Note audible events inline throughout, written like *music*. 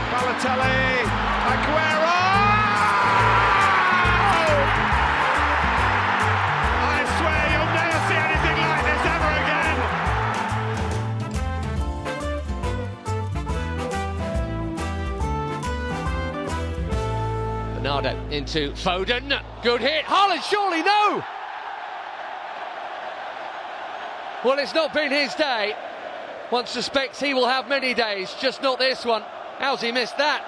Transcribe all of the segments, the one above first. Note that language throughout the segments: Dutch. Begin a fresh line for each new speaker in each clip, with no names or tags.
Balotelli, Aguero! I swear you'll never see anything like this ever again.
Bernardo into Foden. Good hit. Haaland, surely no! Well, it's not been his day. One suspects he will have many days, just not this one. How's he missed that?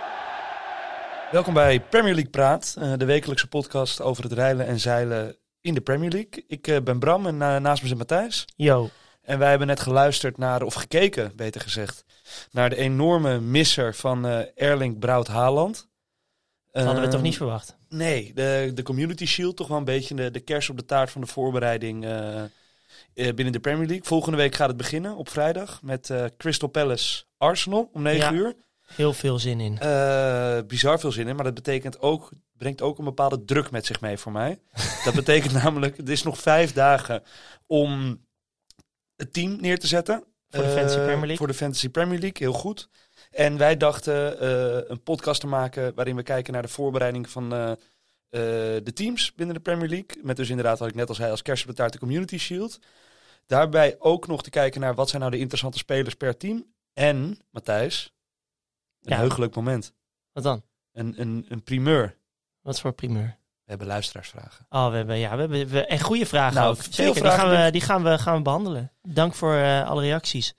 Welkom bij Premier League Praat, eh, de wekelijkse podcast over het rijlen en zeilen in de Premier League. Ik eh, ben Bram en eh, naast me zit Matthijs.
Yo,
En wij hebben net geluisterd naar, of gekeken beter gezegd, naar de enorme misser van eh, Erling Braut Haaland.
dat hadden we toch
Ehm,
niet verwacht.
Nee, de, de Community Shield toch wel een beetje de, de kers op de taart van de voorbereiding eh, eh, binnen de Premier League. Volgende week gaat het beginnen op vrijdag met eh, Crystal Palace Arsenal om 9
Ja.
uur.
Heel veel zin in.
Eh, bizar veel zin in, maar dat betekent ook, brengt ook een bepaalde druk met zich mee voor
*laughs*
mij. dat betekent namelijk, het is nog vijf dagen om het team neer te zetten.
Voor de
Eh,
Fantasy Premier League.
Voor de Fantasy Premier League, heel goed. En wij dachten eh, een podcast te maken waarin we kijken naar de voorbereiding van eh, eh, de teams binnen de Premier League. Met dus inderdaad, wat ik net al zei, als kerst op de taart de Community Shield. Daarbij ook nog te kijken naar wat zijn nou de interessante spelers per team. En, Matthijs, een
Ja.
heugelijk moment.
Wat dan?
Een, een, een primeur.
Wat voor primeur?
We hebben luisteraarsvragen.
Oh, we hebben, ja, we hebben we, en goede vragen
Nou,
ook.
veel
Zeker,
vragen
die, gaan we,
met-
die gaan, we, gaan we behandelen. Dank voor eh, alle reacties.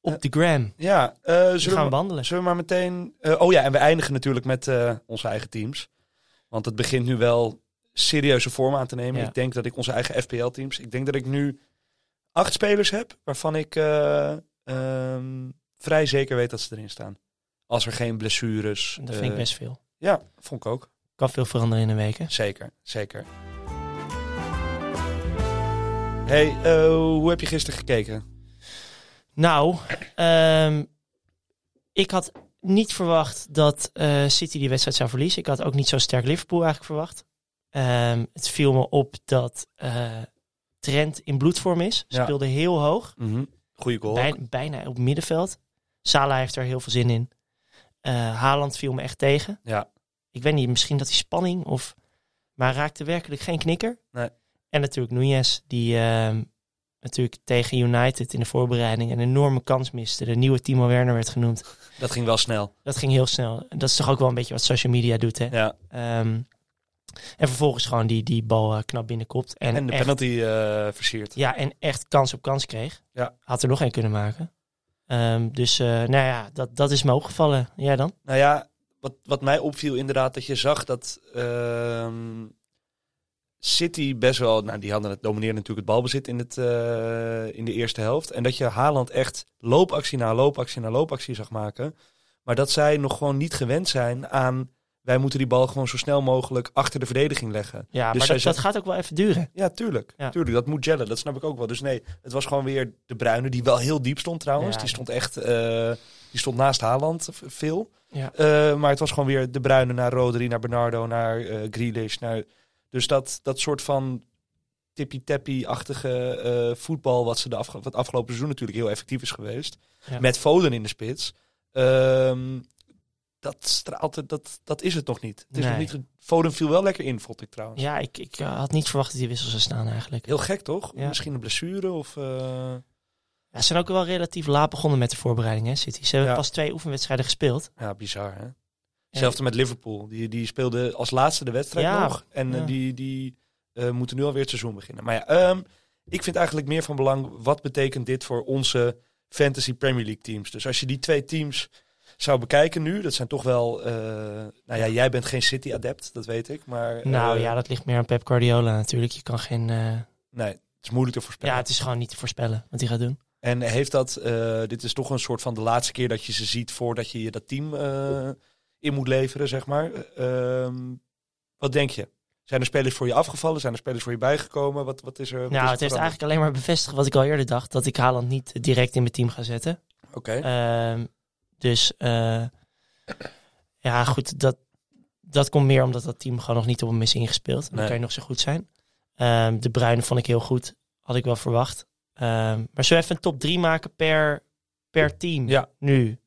Op
Eh,
de gram.
Ja, eh,
Die
zullen,
gaan we
we, maar-
behandelen.
zullen we maar meteen... eh, oh ja, en we eindigen natuurlijk met eh, onze eigen teams. Want het begint nu wel serieuze vorm aan te nemen.
Ja.
Ik denk dat ik onze eigen FPL-teams... Ik denk dat ik nu acht spelers heb... waarvan ik eh, ehm, vrij zeker weet dat ze erin staan. Als er geen blessures...
Dat vind ik
eh,
best veel.
Ja, vond ik ook.
Kan veel veranderen in een week, hè?
Zeker, zeker. Hey, eh, hoe heb je gisteren gekeken?
Nou, ehm, ik had niet verwacht dat eh, City die wedstrijd zou verliezen. Ik had ook niet zo sterk Liverpool eigenlijk verwacht. Ehm, het viel me op dat eh, Trent in bloedvorm is.
Ja.
Speelde heel hoog.
Mhm. Goeie goal.
Bij- bijna op middenveld. Salah heeft er heel veel zin in. Eh, Haaland viel me echt tegen.
Ja.
Ik weet niet, misschien dat die spanning of... Maar hij raakte werkelijk geen knikker.
Nee.
En natuurlijk Nunez, die ehm, natuurlijk tegen United in de voorbereiding een enorme kans miste. De nieuwe Timo Werner werd genoemd.
Dat ging wel snel.
Dat ging heel snel. Dat is toch ook wel een beetje wat social media doet, hè?
Ja.
Ehm, en vervolgens gewoon die, die bal eh, knap binnenkopt. En,
En, de
echt-
penalty eh, versierd.
ja, en echt kans op kans kreeg.
Ja.
Had er nog één kunnen maken. Ehm, dus eh, nou ja, dat, dat is me opgevallen. Jij dan?
Nou ja, wat, wat mij opviel inderdaad, dat je zag dat ehm, City best wel... Nou, die hadden het domineerden natuurlijk het balbezit in, het, eh, in de eerste helft. En dat je Haaland echt loopactie na loopactie na loopactie zag maken. Maar dat zij nog gewoon niet gewend zijn aan... Wij moeten die bal gewoon zo snel mogelijk achter de verdediging leggen.
Ja,
Dus
maar
zij
dat, dat gaat ook wel even duren.
Ja, tuurlijk.
Ja.
Tuurlijk, dat moet jellen. Dat snap ik ook wel. Dus nee, het was gewoon weer de Bruine, die wel heel diep stond trouwens.
Ja.
Die stond echt, eh, die stond naast Haaland v- veel.
Ja.
Eh, maar het was gewoon weer de Bruine naar Rodri, naar Bernardo, naar eh Grealish. Naar... Dus dat, dat soort van tippy-tappy-achtige eh, voetbal, wat, ze de afge- wat afgelopen seizoen natuurlijk heel effectief is geweest.
Ja.
Met Foden in de spits. Ehm, dat, straalt, dat, dat is het nog niet. Het is
Nee.
nog niet ge- Foden viel wel lekker in, vond ik trouwens.
Ja, ik, ik eh, had niet verwacht dat die wissels zou staan eigenlijk.
Heel gek toch?
Ja.
Misschien een blessure of. eh,
Ja, ze zijn ook wel relatief laat begonnen met de voorbereiding, hè, City. Ze hebben
Ja.
pas twee oefenwedstrijden gespeeld.
Ja, bizar hè. Hetzelfde met Liverpool. Die, die speelde als laatste de wedstrijd
Ja,
nog. En eh,
ja.
die, die eh, moeten nu alweer het seizoen beginnen. Maar ja, ehm, ik vind eigenlijk meer van belang. Wat betekent dit voor onze Fantasy Premier League teams? Dus als je die twee teams zou bekijken nu. Dat zijn toch wel. eh, nou ja, jij bent geen City-adept, dat weet ik. Maar.
nou
eh,
ja, dat ligt meer aan Pep Guardiola natuurlijk. Je kan geen... eh,
Nee, het is moeilijk te voorspellen.
ja, het is gewoon niet te voorspellen wat hij gaat doen.
En heeft dat, eh, dit is toch een soort van de laatste keer dat je ze ziet voordat je je dat team eh, in moet leveren, zeg maar. Ehm, wat denk je? Zijn er spelers voor je afgevallen? Zijn er spelers voor je bijgekomen? Wat, wat is er? wat is er
Nou, het heeft
veranderd?
eigenlijk alleen maar bevestigd wat ik al eerder dacht. Dat ik Haaland niet direct in mijn team ga zetten.
Oké.
Ehm, dus eh, ja, goed, dat, dat komt meer omdat dat team gewoon nog niet op hem is ingespeeld. Dan
Nee.
kan je nog zo goed zijn. Ehm, de Bruine vond ik heel goed, had ik wel verwacht. Ehm, maar zo even een top 3 maken per, per team
Ja.
nu.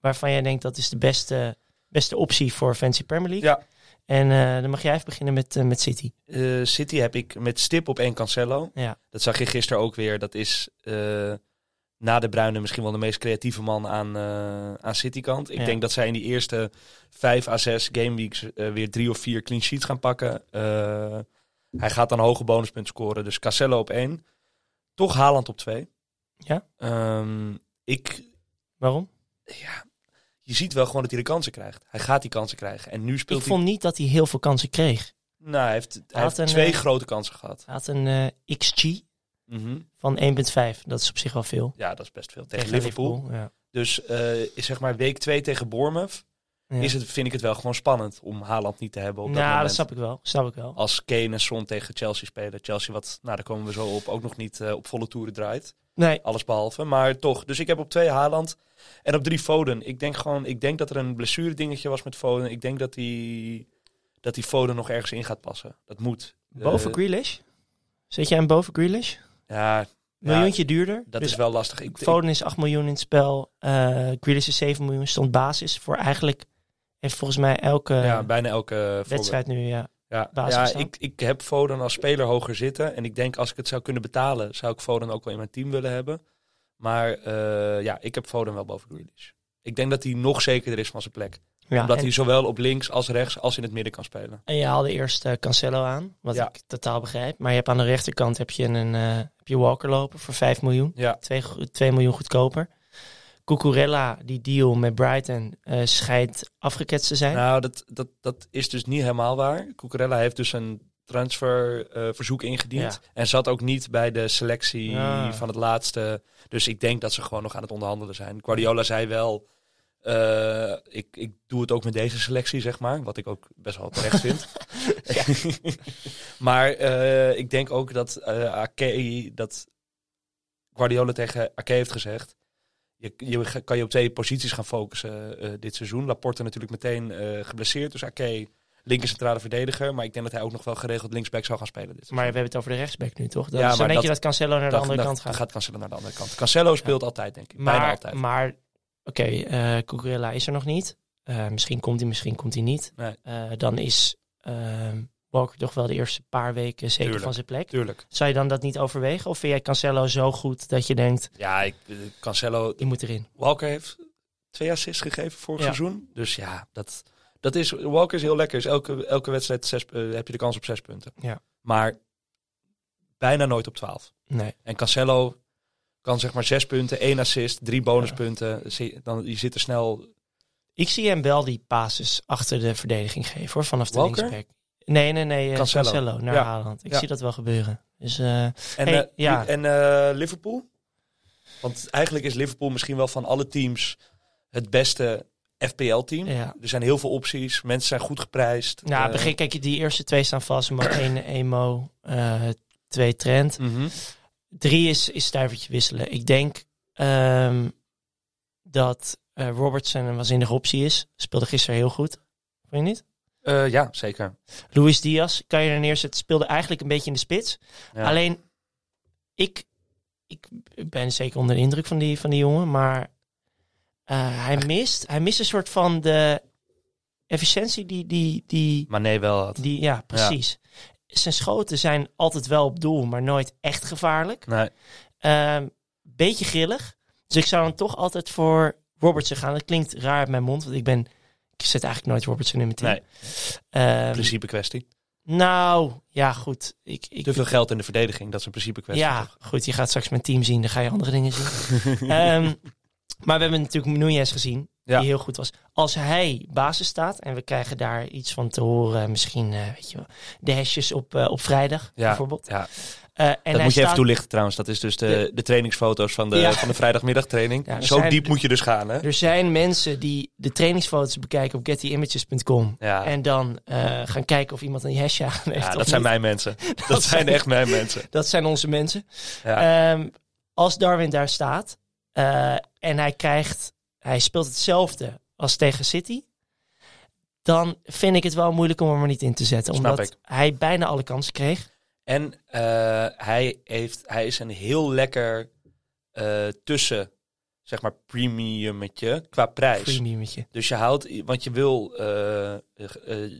waarvan jij denkt dat is de beste, beste optie voor Fancy Premier League.
Ja.
En eh, dan mag jij even beginnen met, eh, met City.
Eh, City heb ik met stip op één Cancelo.
Ja.
Dat zag je gisteren ook weer. Dat is eh, na de Bruine misschien wel de meest creatieve man aan, eh aan City-kant. Ik
Ja.
denk dat zij in die eerste vijf à zes gameweeks eh, weer drie of vier clean sheets gaan pakken. Eh, hij gaat dan een hoge bonuspunt scoren. Dus Cancelo op één. Toch Haaland op twee.
Ja.
Ehm, ik,
Waarom?
ja, je ziet wel gewoon dat hij de kansen krijgt. Hij gaat die kansen krijgen. En nu speelt
Ik vond niet dat hij heel veel kansen kreeg.
hij... Nou, hij heeft, hij
had
heeft
een,
twee
eh,
grote kansen gehad.
Hij had een eh, XG
Mhm.
van 1,5. Dat is op zich wel veel.
Ja, dat is best veel. Tegen, Liverpool.
Ja.
Dus eh, is zeg maar week 2 tegen Bournemouth
Ja.
is het, vind ik het wel gewoon spannend om Haaland niet te hebben op dat
nou,
moment.
dat snap ik wel. Snap ik wel.
Als Kane en Son tegen Chelsea spelen. Chelsea wat, nou daar komen we zo op, ook nog niet eh, op volle toeren draait.
Nee,
Alles behalve. Maar toch, dus ik heb op twee Haaland en op drie Foden. Ik denk gewoon, ik denk dat er een blessure dingetje was met Foden. Ik denk dat die, dat die Foden nog ergens in gaat passen. Dat moet.
boven
Eh,
Grealish. Zit jij hem boven Grealish?
Ja,
Miljoentje duurder.
dat
dus
is wel lastig. Ik, ik-
Foden is 8 miljoen in het spel. eh Grealish is 7 miljoen. Stond basis voor eigenlijk... Heeft volgens mij elke
ja, bijna elke voorbeeld.
wedstrijd nu... Ja.
Ja,
basis
ja
staan.
ik, ik heb Foden als speler hoger zitten. En ik denk als ik het zou kunnen betalen, zou ik Foden ook wel in mijn team willen hebben. Maar eh, ja, ik heb Foden wel boven Grealish. Ik denk dat hij nog zekerder is van zijn plek.
Ja,
Omdat
en-
hij zowel op links als rechts als in het midden kan spelen.
En je haalde eerst eh, Cancelo aan, wat
Ja.
ik totaal begrijp. Maar je hebt aan de rechterkant heb je een eh, heb je Walker lopen voor 5 miljoen.
Ja.
2, miljoen goedkoper. Cucurella, die deal met Brighton, eh schijnt afgeketst te zijn.
Nou, dat, dat, dat is dus niet helemaal waar. Cucurella heeft dus een transferverzoek ingediend. En zat ook niet bij de selectie
Ja.
van het laatste. Dus ik denk dat ze gewoon nog aan het onderhandelen zijn. Guardiola zei wel, eh, ik, ik doe het ook met deze selectie, zeg maar. Wat ik ook best wel terecht vind. maar eh, ik denk ook dat eh Ake, dat Guardiola tegen Ake heeft gezegd. Je, je ge- kan je op twee posities gaan focussen eh, dit seizoen. Laporte natuurlijk meteen eh, geblesseerd. Dus Ake, linker centrale verdediger. Maar ik denk dat hij ook nog wel geregeld linksback zou gaan spelen. Dit
maar we hebben het over de rechtsback nu, toch? Dat,
Ja,
zo
maar
denk je
dat-
dat Cancelo naar de andere kant gaat.
gaat Cancelo naar de andere kant. Cancelo speelt altijd, denk ik. Bijna
maar
altijd.
maar oké, eh Cucurella is er nog niet. Eh, misschien komt hij, misschien komt hij niet.
Nee.
Eh, dan is eh, Walker toch wel de eerste paar weken zeker
Tuurlijk.
van zijn plek.
Tuurlijk.
Zou je dan dat niet overwegen? Of vind jij Cancelo zo goed dat je denkt,
Ja, ik, eh, Cancelo
die moet erin?
Walker heeft twee assists gegeven vorig
Ja.
seizoen. Dus ja, dat, dat is, Walker is heel lekker. Is elke, elke wedstrijd zes, eh, heb je de kans op zes punten.
Ja.
Maar bijna nooit op twaalf.
Nee.
En Cancelo kan zeg maar zes punten, één assist, drie bonuspunten. Zie- Dan, je zit er snel...
Ik zie hem wel die passes achter de verdediging geven hoor, vanaf de
Walker?
linksback. Nee, nee, nee. eh,
Cancelo.
Cancelo, naar
Ja.
Haaland. Ik
Ja.
zie dat wel gebeuren. Dus eh,
En,
Hey,
eh,
ja.
en eh, Liverpool? Want eigenlijk is Liverpool misschien wel van alle teams het beste FPL-team.
ja.
Er zijn heel veel opties. Mensen zijn goed geprijsd.
Nou,
Eh,
begin, kijk, die eerste twee staan
*clears throat*
vast. Maar één emo, eh, twee trend.
mhm.
Drie is, is stuivertje wisselen. Ik denk ehm, dat eh, Robertson een waanzinnige optie is. Speelde gisteren heel goed. Vond je niet?
Eh, ja, zeker.
Luis Diaz kan je er neerzetten. Speelde eigenlijk een beetje in de spits.
Ja.
Alleen, ik, ik ben zeker onder de indruk van die, van die jongen. Maar eh, hij, mist, hij mist een soort van de efficiëntie die... die, die,
Maar nee, wel had.
die ja, precies. Zijn schoten zijn altijd wel op doel, maar nooit echt gevaarlijk.
Nee.
Ehm, beetje grillig. Dus ik zou dan toch altijd voor Robertson gaan. Dat klinkt raar uit mijn mond, want ik ben... Ik zet eigenlijk nooit Robertson in mijn team.
Nee.
Ehm,
principe kwestie.
nou, ja, goed. Ik, ik,
Te veel geld in de verdediging, dat is een principe kwestie.
ja,
toch?
goed. Je gaat straks mijn team zien. Dan ga je andere
*laughs*
dingen zien. Ehm, maar we hebben natuurlijk Nunez gezien.
Ja.
Die heel goed was. Als hij basis staat. En we krijgen daar iets van te horen. Misschien eh, weet je wel, de hashjes op, eh, op vrijdag
Ja,
bijvoorbeeld.
ja.
Eh, en
dat
hij
moet je even
staat-
toelichten trouwens. Dat is dus de, de trainingsfoto's van de,
Ja.
van de vrijdagmiddagtraining.
Ja, er
Zo
zijn-
diep moet je dus gaan, hè?
Er zijn mensen die de trainingsfoto's bekijken op gettyimages.com.
Ja,
En dan eh, gaan kijken of iemand een hashje aan heeft.
ja
of
dat zijn
niet.
mijn
*laughs*
mensen. Dat, zijn
zijn-
echt mijn mensen.
dat zijn onze mensen.
Ja.
Ehm, als Darwin daar staat eh, en hij krijgt, hij speelt hetzelfde als tegen City, dan vind ik het wel moeilijk om hem er niet in te zetten,
Snap
omdat
ik.
hij bijna alle kansen kreeg.
En eh, hij, heeft, hij is een heel lekker eh, tussen zeg maar, premiummetje qua prijs.
Premiumetje.
Dus je houdt, i- want je wil, eh, eh, eh,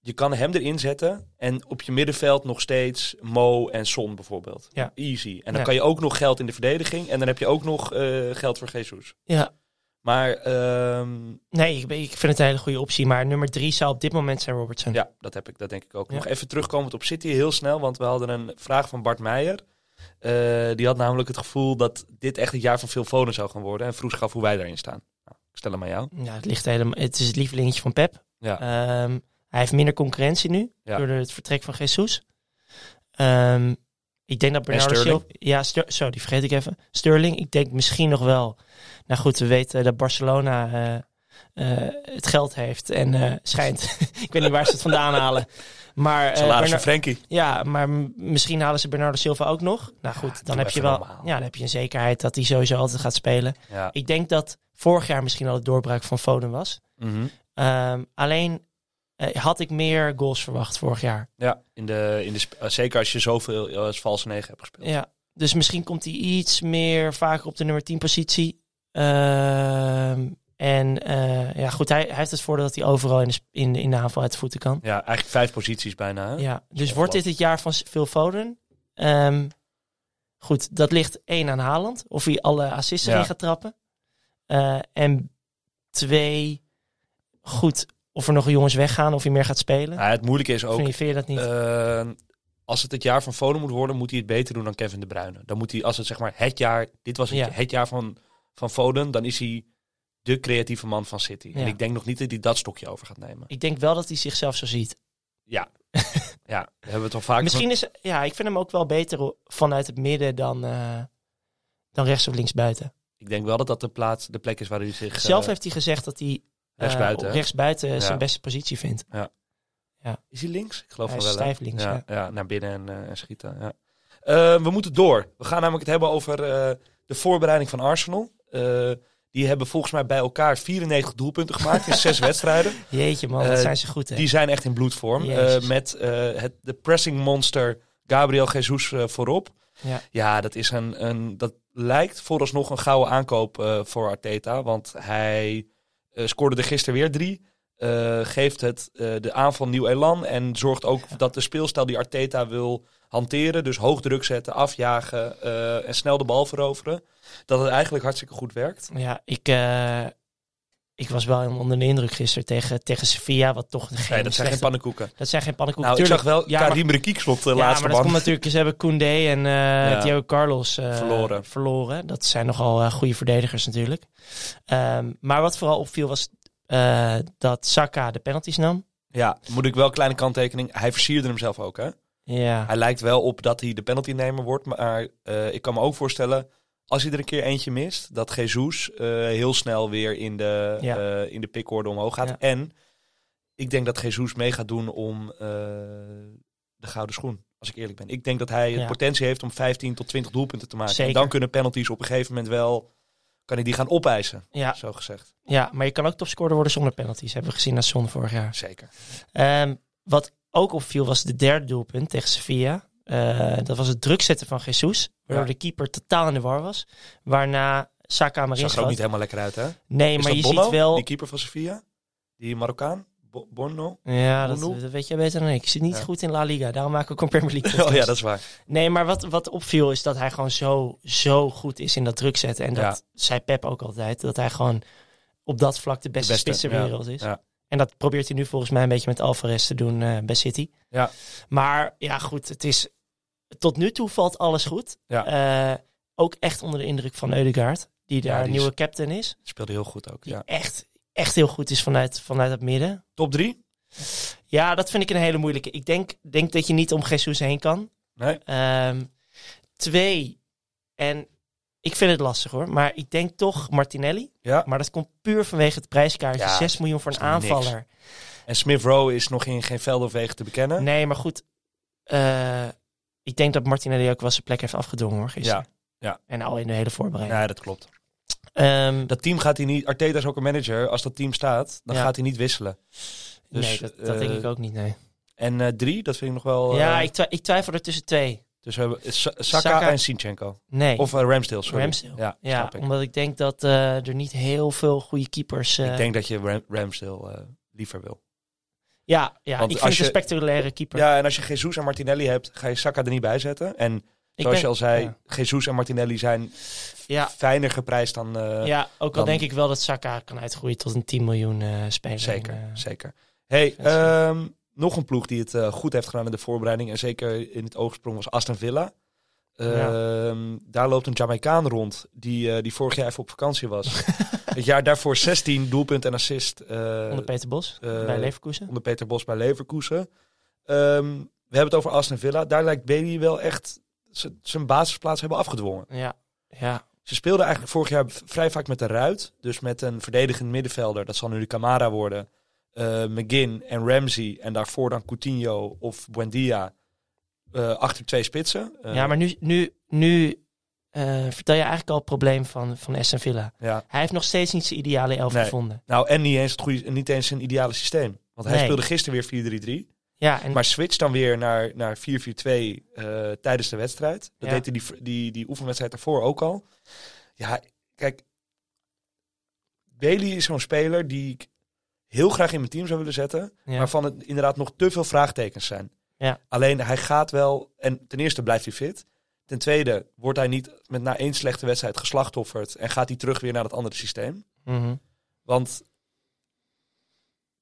je kan hem erin zetten en op je middenveld nog steeds Mo en Son bijvoorbeeld.
Ja.
Easy. En dan
Ja.
kan je ook nog geld in de verdediging en dan heb je ook nog eh, geld voor Jesus.
Ja.
Maar ehm,
Nee, ik, ben- ik vind het een hele goede optie. Maar nummer drie zou op dit moment zijn Robertson.
ja, dat heb ik, dat denk ik ook.
Hm. Ja.
Nog even terugkomend op City heel snel, want we hadden een vraag van Bart Meijer. Eh, die had namelijk het gevoel dat dit echt het jaar van veel Foden zou gaan worden en vroeg zich af hoe wij daarin staan. Nou, ik stel hem aan jou.
Ja, het, ligt helemaal, het is het lievelingetje van Pep.
Ja.
Ehm, hij heeft minder concurrentie nu
Ja.
door het vertrek van Jesus. Ehm, ik denk dat Bernardo
Sterling.
Silva... Ja, Ster- zo, die vergeet ik even. Sterling, ik denk misschien nog wel... Nou goed, we weten dat Barcelona eh, eh, het geld heeft en eh, schijnt... *laughs* ik weet niet waar ze het vandaan halen. Maar, eh,
Salaris
Berna-
van Frenkie.
ja, maar m- misschien halen ze Bernardo Silva ook nog. Nou goed, dan,
doe
heb je
even
wel,
normaal.
ja, dan heb je een zekerheid dat hij sowieso altijd gaat spelen.
Ja.
Ik denk dat vorig jaar misschien al het doorbraak van Foden was.
Mhm.
Ehm, alleen eh, had ik meer goals verwacht vorig jaar.
Ja, in de, in de, sp- eh, zeker als je zoveel eh, als valse negen hebt gespeeld.
Ja. Dus misschien komt hij iets meer vaker op de nummer 10 positie. Ehm, en eh, ja, goed, hij, hij heeft het voordeel dat hij overal in de, sp- in, de- in de aanval uit de voeten kan.
Ja, eigenlijk vijf posities bijna. hè?
Ja, dus wordt dit het jaar van Phil Foden? Ehm, goed, dat ligt één aan Haaland. Of hij alle assists
Ja.
erin gaat trappen. Eh, en twee, goed, of er nog jongens weggaan of hij meer gaat spelen.
Nou, het moeilijke is
Vind
ook,
je, vind je dat niet?
eh, als het het jaar van Foden moet worden, moet hij het beter doen dan Kevin De Bruyne. Dan moet hij, als het zeg maar het jaar, dit was het,
Ja.
het jaar van, van Foden, dan is hij de creatieve man van City. En
Ja.
ik denk nog niet dat hij dat stokje over gaat nemen.
ik denk wel dat hij zichzelf zo ziet.
Ja, ja daar hebben we het al vaak
Misschien is, ja, ik vind hem ook wel beter o- vanuit het midden dan, eh, dan rechts of links buiten.
Ik denk wel dat dat de, plaats, de plek is waar hij zich eh,
Zelf heeft hij gezegd dat hij eh,
rechtsbuiten, hè?
rechts buiten
Ja.
zijn beste positie vindt.
Is hij links? Ik geloof
Hij
van
is
wel. hè?
stijf links,
Ja,
ja.
ja, naar binnen en, eh, en schieten. Ja. Eh, we moeten door. We gaan namelijk het hebben over eh, de voorbereiding van Arsenal. Eh, die hebben volgens mij bij elkaar 94 doelpunten gemaakt in
*laughs*
zes wedstrijden.
Jeetje man, wat
Eh,
zijn ze goed hè?
Die zijn echt in bloedvorm.
Jezus.
Eh, met eh, het, de pressing monster Gabriel Jesus eh, voorop.
Ja.
dat is een, een. Dat lijkt vooralsnog een gouden aankoop eh, voor Arteta. Want hij eh, scoorde er gisteren weer drie. Eh, geeft het eh, de aanval nieuw elan. En zorgt ook dat de speelstijl die Arteta wil hanteren. Dus hoog druk zetten, afjagen eh, en snel de bal veroveren. Dat het eigenlijk hartstikke goed werkt.
Ja, ik, eh, ik was wel helemaal onder de indruk gisteren tegen, tegen Sevilla, wat toch geen
Nee, dat zijn geen
slechte-
pannenkoeken.
dat zijn geen pannenkoeken.
Nou, ik zag
Tuurlijk,
wel
ja, maar-
Karim Rekiek slot de
ja,
laatste
maar dat
man.
komt natuurlijk. Ze hebben Koundé en eh
Ja.
Diego Carlos eh,
Verloren.
verloren. Dat zijn nogal eh, goede verdedigers natuurlijk. Ehm, maar wat vooral opviel was eh, dat Saka de penalties nam.
Ja, moet ik wel kleine kanttekening. Hij versierde hem zelf ook, hè?
Ja,
Hij lijkt wel op dat hij de penaltynemer wordt. Maar eh, ik kan me ook voorstellen, als hij er een keer eentje mist... dat Jesus eh, heel snel weer in de,
Ja.
eh, in de pikorde omhoog gaat.
Ja.
En ik denk dat Jesus mee gaat doen om eh, de gouden schoen. Als ik eerlijk ben. Ik denk dat hij het
Ja.
potentie heeft om 15 tot 20 doelpunten te maken.
Zeker.
En dan kunnen penalties op een gegeven moment wel... kan hij die gaan opeisen,
ja,
zo gezegd.
ja, maar je kan ook topscorer worden zonder penalties. Hebben we gezien na Son vorig jaar.
Zeker.
Ehm, wat ook opviel was de derde doelpunt tegen Sevilla. Eh, dat was het drukzetten van Jesus, waardoor
Ja.
de keeper totaal in de war was. Waarna Saka hem erin
Zag er ook
schoot.
niet helemaal lekker uit, hè?
Nee,
Is
maar
dat
je
Bono,
ziet wel...
die keeper van Sevilla? Die Marokkaan? Bo- Bono?
Ja, dat,
Bono?
dat weet jij beter dan ik. Ik zit niet
Ja.
goed in La Liga, daarom maak ik ook een Premier
*laughs* *laughs*
League
Oh ja,
podcast.
dat is waar.
Nee, maar wat, wat opviel is dat hij gewoon zo, zo goed is in dat drukzetten. En dat
Ja.
zei Pep ook altijd, dat hij gewoon op dat vlak de beste,
beste,
spits ter
ja.
wereld is.
Ja.
En dat probeert hij nu volgens mij een beetje met Alvarez te doen eh, bij City.
Ja.
Maar ja, goed, het is... Tot nu toe valt alles goed.
Ja.
Eh, ook echt onder de indruk van Eudegaard, die daar
Ja, die is-
nieuwe captain is.
Speelde heel goed ook.
Die
Ja.
echt, echt heel goed is vanuit, vanuit het midden.
Top drie?
Ja, dat vind ik een hele moeilijke. Ik denk, denk dat je niet om Jesus heen kan.
Nee.
Ehm, twee, en ik vind het lastig hoor, maar ik denk toch Martinelli.
Ja.
Maar dat komt puur vanwege het prijskaartje.
Ja,
6 miljoen voor een
is niks.
aanvaller.
En Smith Rowe is nog in geen veld of wegen te bekennen.
Nee, maar goed. eh, ik denk dat Martinelli ook wel zijn plek heeft afgedwongen hoor gisteren.
ja.
En al in de hele voorbereiding.
Ja, dat klopt.
Ehm,
Dat team gaat hij niet... Arteta is ook een manager. Als dat team staat, dan
Ja.
gaat hij niet wisselen. dus,
nee, dat, dat
eh,
denk ik ook niet, nee.
En eh, drie, dat vind ik nog wel... eh,
ja, ik, twi- ik twijfel er tussen twee.
Dus we hebben Sa- Saka,
Saka-
en Sinchenko.
Nee,
Of eh, Ramsdale, sorry.
Ramsdale.
Ja,
ja,
snap ik.
omdat ik denk dat eh, er niet heel veel goede keepers... eh,
Ik denk dat je Ram- Ramsdale eh, liever wil.
ja, ja
Want
ik vind
als
het een
je-
spectaculaire keeper.
Ja, en als je Jesus en Martinelli hebt, ga je Saka er niet bij zetten. En
ik
zoals
ben-
je al zei,
ja.
Jesus en Martinelli zijn
Ja.
fijner geprijsd dan... eh,
ja, ook
dan-
al denk ik wel dat Saka kan uitgroeien tot een 10 miljoen eh speler.
Zeker,
En, eh,
zeker. Hey,
defensie.
ehm, nog een ploeg die het eh, goed heeft gedaan in de voorbereiding. En zeker in het oog sprong was Aston Villa. Ehm, Daar loopt een Jamaicaan rond die, eh, die vorig jaar even op vakantie
*laughs*
was. het jaar daarvoor 16 doelpunt en assist eh,
onder Peter Bos,
eh,
bij Leverkusen.
onder Peter Bos bij Leverkusen. Ehm, we hebben het over Aston Villa. Daar lijkt Bailey wel echt z- zijn basisplaats hebben afgedwongen.
Ja, ja,
Ze speelden eigenlijk vorig jaar v- vrij vaak met de ruit. Dus met een verdedigend middenvelder. Dat zal nu de Camara worden. eh, McGinn en Ramsey. En daarvoor dan Coutinho of Buendia. eh, achter twee spitsen. Eh,
ja maar nu, nu, nu eh, vertel je eigenlijk al het probleem van, van Aston Villa.
ja.
Hij heeft nog steeds niet zijn ideale elf
Nee.
gevonden.
Nou, en niet eens, het goede, niet eens een ideale systeem. Want hij
Nee.
speelde gisteren weer 4-3-3.
Ja, en
Maar switcht dan weer naar, naar 4-4-2 eh, tijdens de wedstrijd. Dat
Ja.
deed hij die, die, die oefenwedstrijd daarvoor ook al. Ja, kijk. Bailey is zo'n speler die ik heel graag in mijn team zou willen zetten.
Ja.
Waarvan het inderdaad nog te veel vraagtekens zijn.
Ja.
Alleen hij gaat wel. En ten eerste blijft hij fit. Ten tweede wordt hij niet met na één slechte wedstrijd geslachtofferd. En gaat hij terug weer naar het andere systeem.
mhm.
Want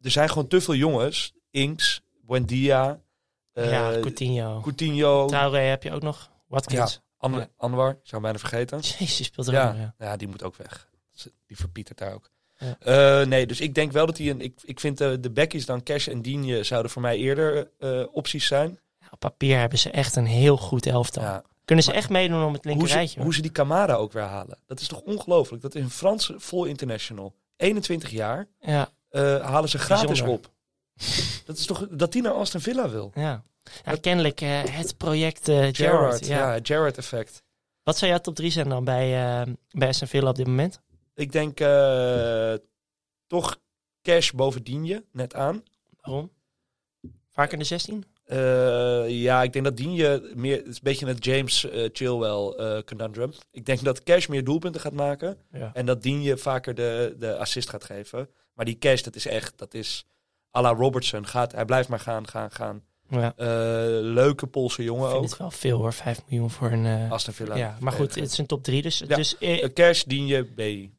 er zijn gewoon te veel jongens. Inks, Buendia, eh,
ja, Coutinho.
Coutinho,
Traoré heb je ook nog.
ja,
Watkins.
An-
Ja.
Anwar, ik zou hem bijna vergeten.
Jezus, die speelt er ook nog,
Ja,
ja.
ja, die moet ook weg. Ze- Die verpietert daar ook.
Ja.
Eh, nee, dus ik denk wel dat hij een. Ik, ik vind eh, de backies dan Cash en Digne zouden voor mij eerder eh, opties zijn.
Ja, Op papier hebben ze echt een heel goed elftal.
Ja.
Kunnen ze echt meedoen om het
Hoe, ze,
linkerrijtje?
hoe ze die Camara ook weer halen. Dat is toch ongelooflijk? Dat is een Franse vol international. 21 jaar.
hoor. Ja,
eh, halen ze gratis
Bijzonder.
op. Dat is toch dat die naar Aston Villa wil?
ja. ja kennelijk eh, het project eh Gerrard.
Gerrard,
ja.
ja, Gerrard effect.
Wat zou jouw top 3 zijn dan bij, eh bij Aston Villa op dit moment?
Ik denk eh, toch cash bovendien je net aan.
Waarom? Vaak in de 16?
Eh, ja, ik denk dat Digne meer, het is een beetje het James eh, Chilwell eh, conundrum. Ik denk dat Cash meer doelpunten gaat maken
Ja.
en dat Digne vaker de, de assist gaat geven. Maar die Cash, dat is echt, dat is à la Robertson. Gaat, hij blijft maar gaan, gaan, gaan.
Ja.
Eh, leuke Poolse jongen
Ik vind
ook.
het wel veel hoor, 5 miljoen voor een... eh,
Aston Villa. Eh,
ja, maar goed, het is een top 3. Dus,
Ja.
dus eh,
Eh, Cash, Digne, B.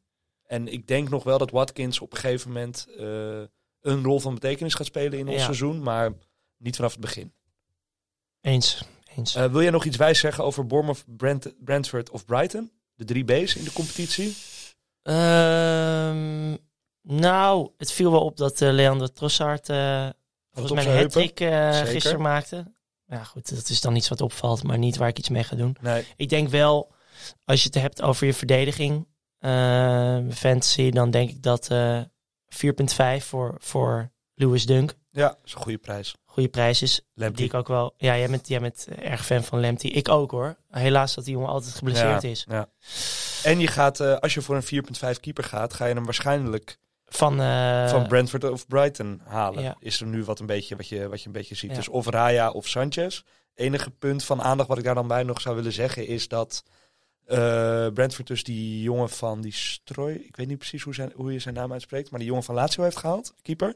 En ik denk nog wel dat Watkins op een gegeven moment eh, een rol van betekenis gaat spelen in ons
Ja.
seizoen, maar niet vanaf het begin.
eens. eens.
Eh, wil jij nog iets wijs zeggen over Bournemouth, Brent, Brentford of Brighton? De drie B's in de competitie?
Ehm, nou, het viel wel op dat eh, Leandro Trossard eh volgens
op
mij
zijn
een
heupen.
hat-trick eh,
Zeker.
gisteren maakte. Ja goed, dat is dan iets wat opvalt, maar niet waar ik iets mee ga doen.
Nee.
Ik denk wel, als je het hebt over je verdediging, eh fantasy, dan denk ik dat eh 4,5 voor, voor Lewis Dunk
Ja, dat is een goede prijs.
goede prijs is.
Lamptey.
Die ik ook wel... Ja, jij bent, jij bent erg fan van Lemty. Ik ook hoor. Helaas dat die jongen altijd geblesseerd
Ja,
is.
ja. En je gaat, eh, als je voor een 4.5 keeper gaat, ga je hem waarschijnlijk
Van, eh,
van Brentford of Brighton halen.
ja.
Is er nu wat, een beetje, wat, je, wat je een beetje ziet.
Ja.
Dus of Raya of Sanchez. Enige punt van aandacht wat ik daar dan bij nog zou willen zeggen is dat eh, Brentford dus die jongen van die Strooi, ik weet niet precies hoe, zijn, hoe je zijn naam uitspreekt, maar die jongen van Lazio heeft gehaald, keeper.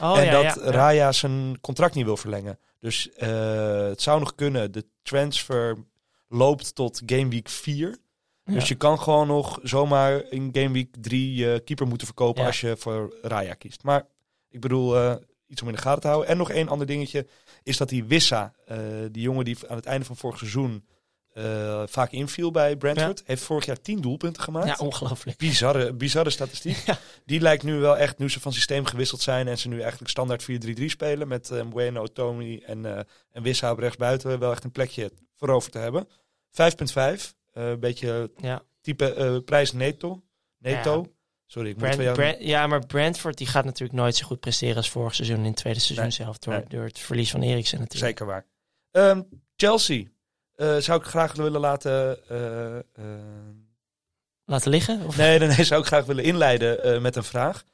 Oh,
en
ja,
dat
ja, ja.
Raya zijn contract niet wil verlengen. Dus eh, het zou nog kunnen. De transfer loopt tot game week 4. Dus je kan gewoon nog zomaar in game week 3 je keeper moeten verkopen
Ja.
als je voor Raya kiest. Maar ik bedoel, eh, iets om in de gaten te houden. En nog één ander dingetje is dat die Wissa, eh, die jongen die aan het einde van vorig seizoen eh, vaak inviel bij Brentford, heeft vorig jaar 10 doelpunten gemaakt.
Ja, ongelooflijk.
Bizarre, bizarre statistiek.
*laughs* Ja.
Die lijkt nu wel echt, nu ze van systeem gewisseld zijn en ze nu eigenlijk standaard 4-3-3 spelen met eh Bueno, Tony en, eh en Wissa op rechtsbuiten, wel echt een plekje voorover te hebben. 5.5, eh, een beetje
Ja.
type eh, prijs Neto. Neto. Sorry, ik moet
Brand-
van jou...
Brand- ja, maar Brentford die gaat natuurlijk nooit zo goed presteren als vorig seizoen in het tweede seizoen
Nee,
zelf. Door,
nee.
door het verlies van Eriksen natuurlijk.
Zeker waar. Ehm, Chelsea. eh, zou ik graag willen laten... eh, eh,
Laten liggen? Of?
Nee, nee, nee, zou ik graag willen inleiden eh, met een vraag.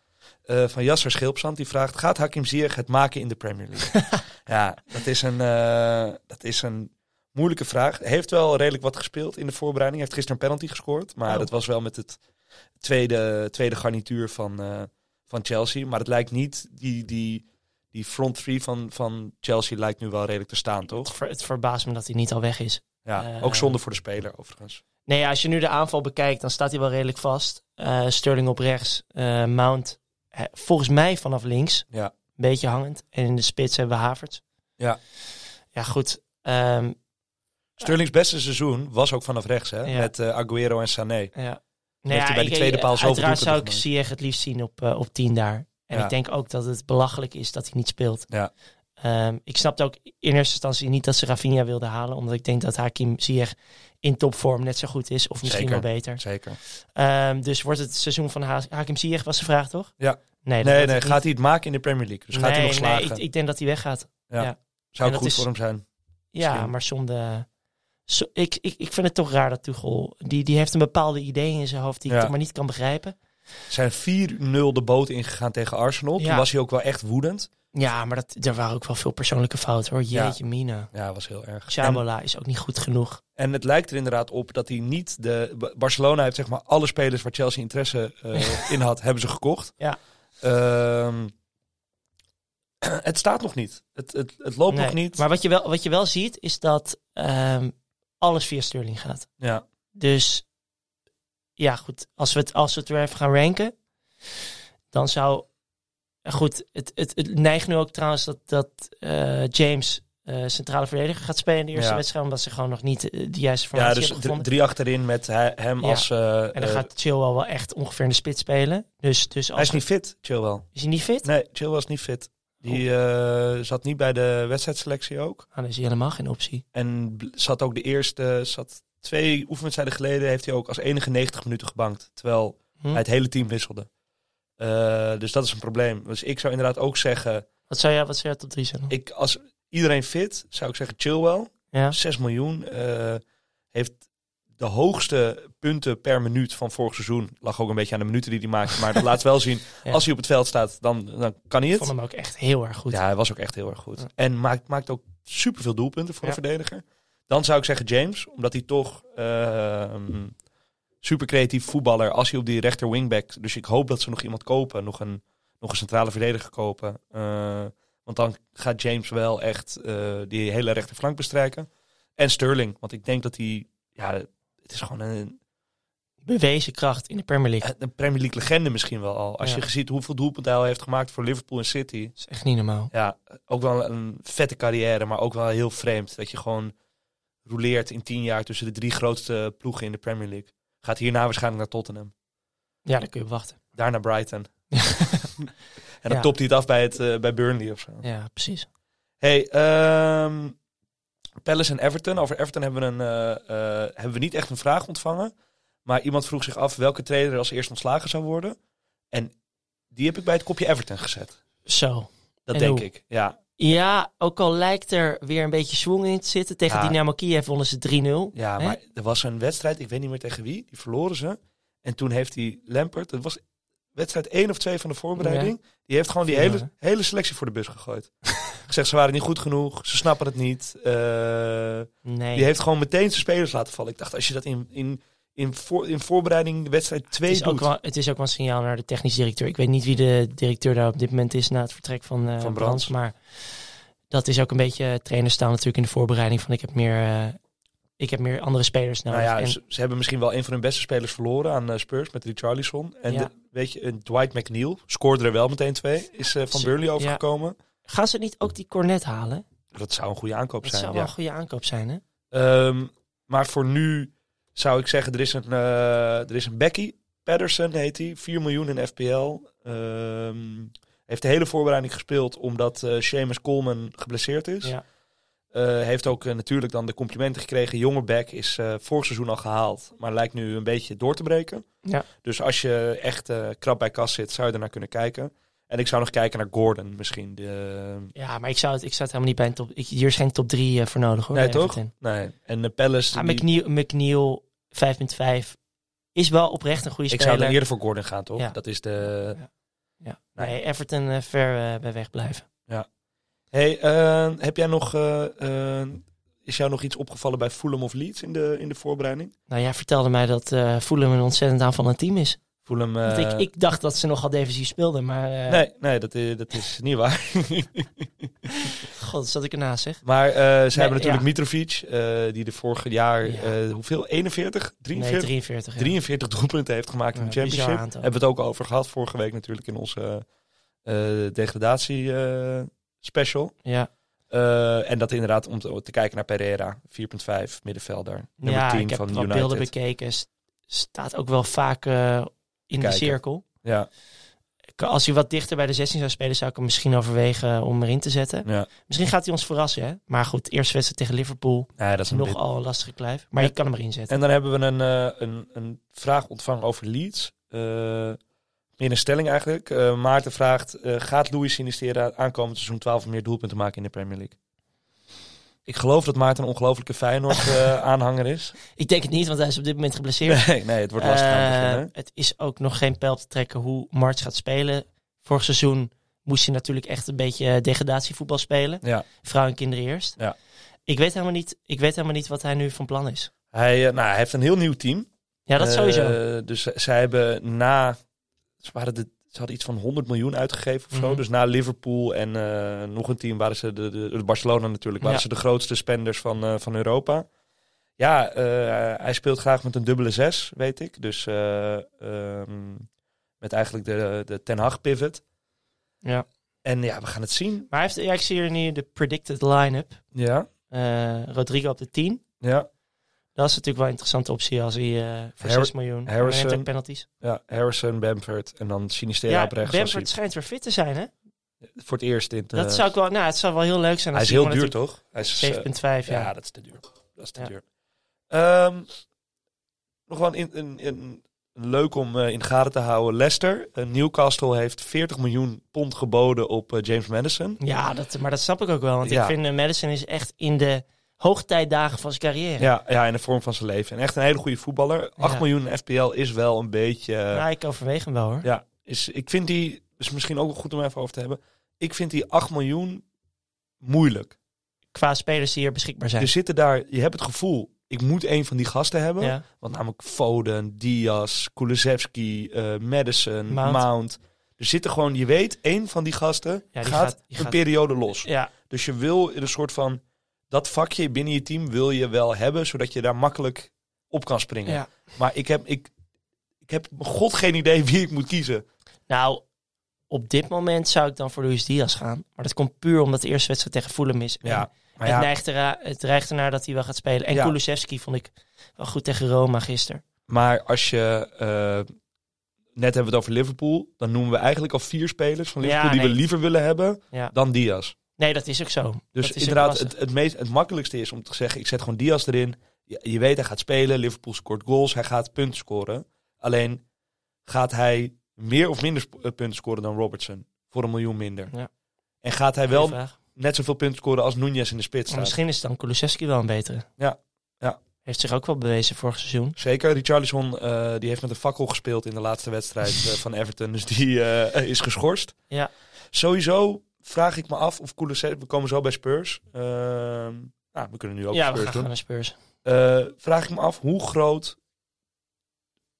eh, van Jasser Schilpsand, die vraagt... Gaat
*laughs*
Hakim Ziyech het maken in de Premier League? ja, dat is een, eh, dat is een Moeilijke vraag. Heeft wel redelijk wat gespeeld in de voorbereiding. Heeft gisteren een penalty gescoord. Maar
Oh.
dat was wel met het tweede, tweede garnituur van, eh, van Chelsea. Maar het lijkt niet, die, die, die front three van, van Chelsea lijkt nu wel redelijk te staan,
Het,
toch?
ver- het verbaast me dat hij niet al weg is.
Ja,
Eh,
ook zonde voor de speler overigens.
Nee, als je nu de aanval bekijkt, dan staat hij wel redelijk vast. Eh, Sterling op rechts, eh, Mount eh, volgens mij vanaf links.
Ja.
Beetje hangend. En in de spits hebben we Havertz.
Ja.
Ja, goed. Ehm,
Sterling's beste seizoen was ook vanaf rechts, hè?
Ja.
Met eh, Aguero en Sané.
ja.
hij bij die tweede paal zoveel
Uiteraard zou ik
doelpunten
Ziyech het liefst zien op, eh, op 10 daar. En
Ja.
ik denk ook dat het belachelijk is dat hij niet speelt.
Ja.
Ehm, ik snapte ook in eerste instantie niet dat ze Rafinha wilden halen. Omdat ik denk dat Hakim Ziyech in topvorm net zo goed is. Of misschien
Zeker.
wel beter.
Zeker.
Ehm, dus wordt het seizoen van Ha- Hakim Ziyech was de vraag, toch?
Ja.
Nee, dat
Nee,
wordt
nee,
het niet.
gaat hij het maken in de Premier League? Dus gaat hij nog
Nee,
slagen?
Nee, ik, ik denk dat hij weggaat.
Zou
en
het
dat
goed
is-
voor hem zijn?
Ja,
Misschien.
maar zonde... zo- ik, ik, ik vind het toch raar dat Tuchel... Die, die heeft een bepaalde idee in zijn hoofd die
Ja.
ik toch maar niet kan begrijpen.
Zijn 4-0 de boot ingegaan tegen Arsenal. Toen
Ja.
was hij ook wel echt woedend.
Ja, maar dat, er waren ook wel veel persoonlijke fouten hoor.
Ja.
Jeetje mina.
Ja, was heel erg. En,
Chabola is ook niet goed genoeg.
en het lijkt er inderdaad op dat hij niet de... Ba- Barcelona heeft zeg maar alle spelers waar Chelsea interesse eh, in had, *laughs* hebben ze gekocht.
Ja.
Ehm, *clears throat* het staat nog niet. Het, het, het loopt
Nee.
nog niet.
Maar wat je wel, wat je wel ziet is dat ehm, alles via Sterling gaat.
Ja.
Dus ja, goed. Als we het, als we het weer even gaan ranken, dan zou. eh, Goed, het, het, het neigt nu ook trouwens dat, dat eh, James eh, centrale verdediger gaat spelen in de eerste
Ja.
wedstrijd. Omdat ze gewoon nog niet eh, de juiste
ja,
formatie
dus
hebben
dr-
gevonden.
drie achterin met he- hem
Ja.
als... eh,
en dan
eh,
gaat Chilwell wel echt ongeveer in de spits spelen. Dus, dus als
hij is niet fit, Chilwell.
is hij niet fit? Oh.
Nee, Chilwell is niet fit. Die eh, zat niet bij de wedstrijdselectie ook.
Ah, dan is hij helemaal geen optie.
En bl- zat ook de eerste, zat twee oefenwedstrijden geleden, heeft hij ook als enige 90 minuten gebankt. Terwijl
Hm?
hij het hele team wisselde. Eh, dus dat is een probleem. Dus ik zou inderdaad ook zeggen,
Wat zou jij, wat zou jij tot drie zijn?
ik, als iedereen fit, zou ik zeggen Chilwell.
Ja.
6 miljoen. eh, heeft de hoogste punten per minuut van vorig seizoen. Lag ook een beetje aan de minuten die hij maakte.
*laughs*
Maar dat laat wel zien,
Ja.
als hij op het veld staat, dan, dan kan hij
Ik
het.
vond hem ook echt heel erg goed.
Ja, hij was ook echt heel erg goed.
Ja.
En maakt, maakt ook superveel doelpunten voor
Ja.
een verdediger. Dan zou ik zeggen James, omdat hij toch ehm super creatief voetballer als hij op die rechter wingback. Dus ik hoop dat ze nog iemand kopen, nog een, nog een centrale verdediger kopen. Eh, want dan gaat James wel echt eh, die hele rechterflank bestrijken. En Sterling, want ik denk dat hij, ja, het is gewoon een,
Bewezen kracht in de Premier League.
een Premier League legende misschien wel al. Als
Ja.
je ziet hoeveel doelpunten hij al heeft gemaakt voor Liverpool en City.
Dat is echt niet normaal.
Ja, ook wel een vette carrière, maar ook wel heel vreemd. Dat je gewoon roleert in tien jaar tussen de drie grootste ploegen in de Premier League. Gaat hierna waarschijnlijk naar Tottenham.
Ja, daar kun je op wachten.
Daarna Brighton.
*laughs*
en dan
Ja.
topt hij het af bij, het, eh, bij Burnley of zo.
Ja, precies.
Hey, ehm, Palace en Everton. Over Everton hebben we, een, eh, eh, hebben we niet echt een vraag ontvangen. Maar iemand vroeg zich af welke trainer er als eerst ontslagen zou worden. En die heb ik bij het kopje Everton gezet.
Zo.
Dat
En
denk
hoe?
ik. Ja,
Ja, ook al lijkt er weer een beetje zwong in te zitten. Tegen
Ja.
Dynamo Kiev wonnen ze 3-0.
Ja,
Hè?
maar er was een wedstrijd, ik weet niet meer tegen wie, die verloren ze. En toen heeft die Lampert, dat was wedstrijd één of twee van de voorbereiding, die heeft gewoon die
Vier,
hele, hele selectie voor de bus
*laughs*
gegooid. Gezegd, ze waren niet goed genoeg, ze snappen het niet. Eh,
Nee,
die heeft gewoon meteen zijn spelers laten vallen. Ik dacht, als je dat in, in, in, voor, in voorbereiding wedstrijd
het,
twee
is
doet,
ook wel, het is ook wel een signaal naar de technisch directeur. Ik weet niet wie de directeur daar op dit moment is na het vertrek van, eh
Van
van
Brands.
Brands. Maar dat is ook een beetje... Trainers staan natuurlijk in de voorbereiding van ik heb meer, eh, ik heb meer andere spelers nodig.
nou ja,
En-
ze, ze hebben misschien wel een van hun beste spelers verloren aan eh, Spurs met Richarlison. En
Ja.
de- weet je, een Dwight McNeil scoorde er wel meteen twee, is eh, van
Ze-
Burnley
ja.
overgekomen.
Gaan ze niet ook die cornet halen?
Dat zou een goede aankoop
Dat
zijn.
zou
ja.
wel een goede aankoop zijn, hè?
Ehm, maar voor nu zou ik zeggen, er is een, eh, er is een Becky. Patterson heet hij. 4 miljoen in FPL. Ehm, heeft de hele voorbereiding gespeeld omdat eh Seamus Coleman geblesseerd is.
Ja.
Eh, heeft ook eh, natuurlijk dan de complimenten gekregen. Jonge Beck is eh, vorig seizoen al gehaald, maar lijkt nu een beetje door te breken.
Ja.
Dus als je echt eh, krap bij kas zit, zou je ernaar kunnen kijken. En ik zou nog kijken naar Gordon misschien. De, eh,
Ja, maar ik zou het, ik zou het helemaal niet bij een top... Ik, hier is geen top 3 voor nodig, hoor.
Nee,
bij
toch?
Everton.
nee. En de Palace,
Ja,
die-
McNeil, McNeil 5.5 is wel oprecht een goede
ik
speler.
zou dan eerder voor Gordon gaan, toch?
Ja.
Dat is de,
ja. Nee, Everton eh, ver eh, bij weg blijven.
ehm, Hey, eh, heb jij nog eh, eh, Is jou nog iets opgevallen bij Fulham of Leeds in de, in de voorbereiding?
Nou, jij vertelde mij dat eh Fulham een ontzettend aanvallend team is.
Fulham... eh,
Want ik, ik dacht dat ze nogal defensief speelden, maar eh,
Nee, nee dat, is, dat is niet waar. *laughs*
god, zat ik ernaast zeg.
Maar eh, ze hebben natuurlijk
ja.
Mitrovic, eh, die de vorige jaar,
Ja.
eh, hoeveel? 41? 43?
Nee, 43. ja.
43 doelpunten heeft gemaakt in
Ja,
de
bizar
championship.
aantal.
Hebben we het ook over gehad vorige week natuurlijk in onze eh, eh, degradatie eh, special.
Ja.
Eh, en dat inderdaad om te, te kijken naar Pereira, 4.5 middenvelder, nummer
ja,
10
ik heb
van
wat
United.
beelden bekeken. S- Staat ook wel vaak eh, in
Kijken.
de cirkel.
Ja,
Ik- Als hij wat dichter bij de 16 zou spelen, zou ik hem misschien overwegen om erin te zetten.
ja.
Misschien gaat hij ons verrassen, hè? Maar goed, eerste wedstrijd tegen Liverpool.
Nee, dat is een bit-
Nogal een lastige kluif. Maar
Ja.
je kan hem erin zetten.
En dan hebben we een, eh, een, een vraag ontvangen over Leeds. Eh, meer een stelling eigenlijk. Eh, Maarten vraagt, eh, gaat Louis Sinistera aankomend seizoen 12 of meer doelpunten maken in de Premier League? Ik geloof dat Maarten een ongelofelijke *laughs* Feyenoord-aanhanger is.
Ik denk het niet, want hij is op dit moment geblesseerd.
Nee, nee, het wordt lastig aan het begin,
Eh,
hè?
het is ook nog geen pijl te trekken hoe March gaat spelen. Vorig seizoen moest hij natuurlijk echt een beetje eh, degradatievoetbal spelen.
Ja.
Vrouwen en kinderen eerst.
Ja.
Ik, weet helemaal niet, ik weet helemaal niet wat hij nu van plan is.
Hij, eh, nou, hij heeft een heel nieuw team.
Ja, dat
Eh,
sowieso.
Dus ze- zij hebben na... Ze, waren de, ze hadden iets van 100 miljoen uitgegeven of zo.
Mhm.
Dus na Liverpool en eh, nog een team waren ze... De, de, de Barcelona natuurlijk, waren
Ja.
ze de grootste spenders van, eh, van Europa. Ja, eh, hij speelt graag met een dubbele zes, weet ik. Dus eh, ehm, met eigenlijk de, de Ten Hag pivot.
Ja.
En ja, we gaan het zien.
Maar hij heeft, ja, ik zie hier nu de predicted line-up.
Ja,
Eh, Rodrigo op de 10.
ja.
Dat is natuurlijk wel een interessante optie als hij eh, voor
Har-
6 miljoen. Maar hij
Harrison.
neemt ook penalties.
ja. Harrison, Bamford en dan Sinistera
Ja,
op rechts. als hij
Bamford schijnt weer fit te zijn, hè?
voor het eerst in het, eh,
Dat zou ik wel, nou, het zou wel heel leuk zijn.
Hij
als
is heel
gewoon
duur, toch? Hij is, eh,
natuurlijk 7,5, ja.
ja. dat is te duur. Dat is te
Ja.
duur. Ehm, nog wel een, een, een, een leuk om eh, in de gaten te houden. Leicester, eh, Newcastle heeft 40 miljoen pond geboden op eh, James Madison.
Ja, dat, maar dat snap ik ook wel. Want
Ja.
ik vind eh, Madison is echt in de hoogtijdagen van zijn carrière.
Ja, ja, in de vorm van zijn leven. En echt een hele goede voetballer. 8
Ja.
miljoen in FPL is wel een beetje... eh,
Nou, ik overweeg hem wel hoor.
ja, is, ik vind die... is misschien ook wel goed om even over te hebben. Ik vind die 8 miljoen moeilijk.
Qua spelers die hier beschikbaar zijn.
Er zitten daar... Je hebt het gevoel, ik moet een van die gasten hebben.
ja.
Want namelijk Foden, Diaz, Kulusevski, eh, Madison, Mount.
Mount.
Er zitten gewoon, je weet, één van die gasten
Ja, die
gaat,
gaat- die
een
gaat-
periode los.
ja,
Dus je wil een soort van, dat vakje binnen je team wil je wel hebben, zodat je daar makkelijk op kan springen.
ja.
Maar ik heb, ik, ik heb mijn god geen idee wie ik moet kiezen.
Nou, op dit moment zou ik dan voor Luis Diaz gaan. Maar dat komt puur omdat de eerste wedstrijd tegen Fulham is. En
Ja, maar
het,
ja,
neigt era- het dreigt ernaar dat hij wel gaat spelen. En
Ja.
Kulusevski vond ik wel goed tegen Roma gisteren.
maar als je, eh, net hebben we het over Liverpool, dan noemen we eigenlijk al vier spelers van
Ja,
Liverpool die we
nee.
liever willen hebben
Ja.
dan Diaz.
Nee, dat is ook zo.
Dus
dat is
inderdaad,
ook lastig.
het, het, meest, het makkelijkste is om te zeggen: ik zet gewoon Diaz erin. Je, je weet, hij gaat spelen. Liverpool scoort goals. Hij gaat punten scoren. Alleen gaat hij meer of minder sp- eh, punten scoren dan Robertson? Voor een miljoen minder.
Ja.
En gaat hij
Goeie
wel
vraag.
net zoveel punten scoren als Nunez in de spits?
Maar
Staat?
Oh, misschien is dan Kulusevski wel een betere.
Ja, ja.
Heeft zich ook wel bewezen vorig seizoen.
Zeker. Richarlison eh die heeft met een fakkel gespeeld in de laatste wedstrijd eh, van Everton. Dus die eh, is geschorst.
Ja.
Sowieso vraag ik me af of Kulusevski... We komen zo bij Spurs. Ehm, nou, we kunnen nu ook
ja, we
Spurs
gaan,
doen.
gaan naar Spurs.
Eh, vraag ik me af hoe groot